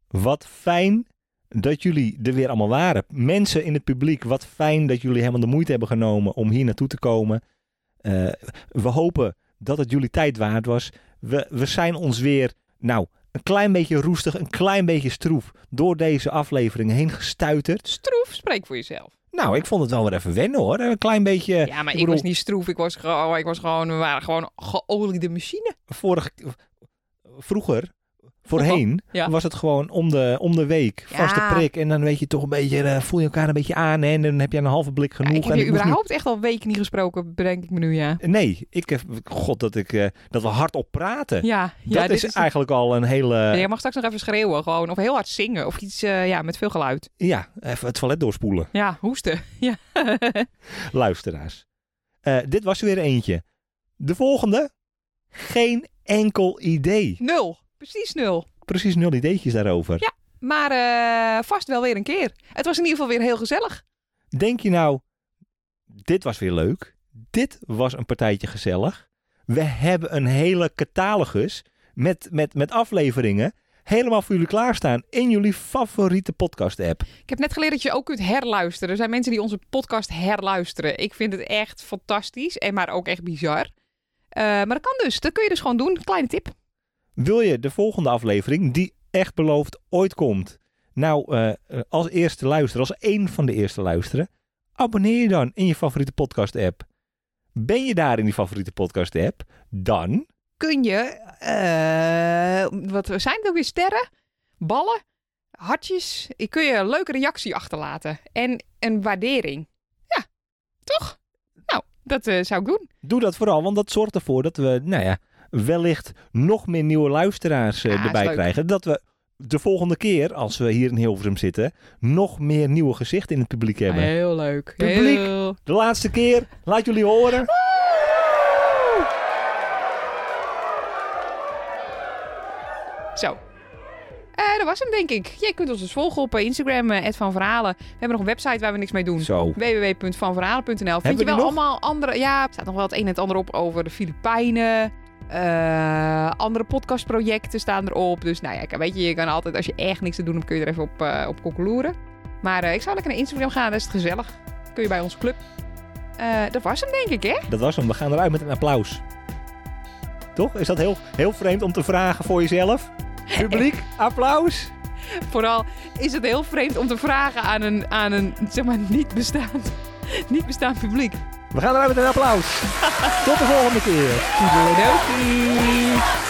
[SPEAKER 2] Wat fijn dat jullie er weer allemaal waren. Mensen in het publiek, wat fijn dat jullie helemaal de moeite hebben genomen om hier naartoe te komen. Eh, we hopen dat het jullie tijd waard was. We, we zijn ons weer, nou, een klein beetje roestig, een klein beetje stroef door deze aflevering heen gestuiterd.
[SPEAKER 1] Stroef, spreek voor jezelf.
[SPEAKER 2] Nou, ik vond het wel weer even wennen hoor. Een klein beetje.
[SPEAKER 1] Ja, maar ik,
[SPEAKER 2] Eh, bedoel,
[SPEAKER 1] was niet stroef. Ik was, gewoon, ik was gewoon, we waren gewoon geoliede machine.
[SPEAKER 2] Vorige, vroeger, voorheen,
[SPEAKER 1] Ja.
[SPEAKER 2] was het gewoon om de, om de week vaste
[SPEAKER 1] Ja.
[SPEAKER 2] prik. En dan weet je toch een beetje, eh, voel je elkaar een beetje aan. hè, En dan heb je een halve blik genoeg.
[SPEAKER 1] Ja, ik heb
[SPEAKER 2] en
[SPEAKER 1] je
[SPEAKER 2] ik moest nu- Eh,
[SPEAKER 1] überhaupt echt al weken niet gesproken, bedenk ik me nu, ja.
[SPEAKER 2] Nee, ik heb, god, dat, ik, eh, dat we hardop praten.
[SPEAKER 1] Ja, ja
[SPEAKER 2] dat
[SPEAKER 1] dit
[SPEAKER 2] is, eh. eigenlijk al een hele,
[SPEAKER 1] Ja, Je mag straks nog even schreeuwen gewoon. Of heel hard zingen. Of iets eh, ja, met veel geluid.
[SPEAKER 2] ja, even het toilet doorspoelen.
[SPEAKER 1] Ja, hoesten. Ja.
[SPEAKER 2] Luisteraars, Eh, dit was er weer eentje. De volgende, geen enkel idee.
[SPEAKER 1] nul. Precies nul.
[SPEAKER 2] Precies nul ideetjes daarover.
[SPEAKER 1] Ja. Maar eh, vast wel weer een keer. Het was in ieder geval weer heel gezellig.
[SPEAKER 2] Denk je nou, dit was weer leuk. Dit was een partijtje gezellig. We hebben een hele catalogus met, met, met afleveringen helemaal voor jullie klaarstaan in jullie favoriete podcast app.
[SPEAKER 1] Ik heb net geleerd dat je ook kunt herluisteren. Er zijn mensen die onze podcast herluisteren. Ik vind het echt fantastisch en maar ook echt bizar. Eh, maar dat kan dus. Dat kun je dus gewoon doen. Kleine tip.
[SPEAKER 2] Wil je de volgende aflevering, die echt beloofd ooit komt, nou eh, eh, als eerste luisteren, als één van de eerste luisteren, abonneer je dan in je favoriete podcast app. Ben je daar in die favoriete podcast app, dan
[SPEAKER 1] kun je, eh, wat zijn het ook weer, sterren, ballen, hartjes. Ik kun je een leuke reactie achterlaten en een waardering. Ja, toch? Nou, dat eh, zou ik doen.
[SPEAKER 2] doe dat vooral, want dat zorgt ervoor dat we, nou ja, wellicht nog meer nieuwe luisteraars eh,
[SPEAKER 1] Ja, is
[SPEAKER 2] erbij
[SPEAKER 1] leuk.
[SPEAKER 2] krijgen. Dat we de volgende keer, als we hier in Hilversum zitten, nog meer nieuwe gezichten in het
[SPEAKER 1] Ah,
[SPEAKER 2] publiek hebben.
[SPEAKER 1] Heel leuk.
[SPEAKER 2] Publiek.
[SPEAKER 1] Heel...
[SPEAKER 2] De laatste keer, laat jullie horen.
[SPEAKER 1] Ah. Zo. Eh, dat was hem, denk ik. Je kunt ons dus volgen op eh, Instagram, eh, Ed van Verhalen. We hebben nog een website waar we niks mee doen.
[SPEAKER 2] Zo.
[SPEAKER 1] www.vanverhalen.nl. Vind
[SPEAKER 2] Hebben
[SPEAKER 1] je wel
[SPEAKER 2] we die nog?
[SPEAKER 1] allemaal andere... Ja, er staat nog wel het een en het ander op over de Filipijnen. Eh, andere podcastprojecten staan erop. Dus nou ja, ik- weet je, je kan altijd... Als je echt niks te doen hebt, kun je er even op, eh op kokkeloeren. Maar eh, ik zou lekker naar Instagram gaan. Dat is het gezellig. Kun je bij onze club. Eh, dat was hem, denk ik, hè?
[SPEAKER 2] Dat was hem. We gaan eruit met een applaus. Toch? Is dat heel, heel vreemd om te vragen voor jezelf? Publiek, applaus.
[SPEAKER 1] Vooral is het heel vreemd om te vragen aan een, aan een zeg maar, niet bestaand, niet bestaand publiek.
[SPEAKER 2] We gaan eruit met een applaus. Tot de volgende keer.
[SPEAKER 1] Toedeledokie.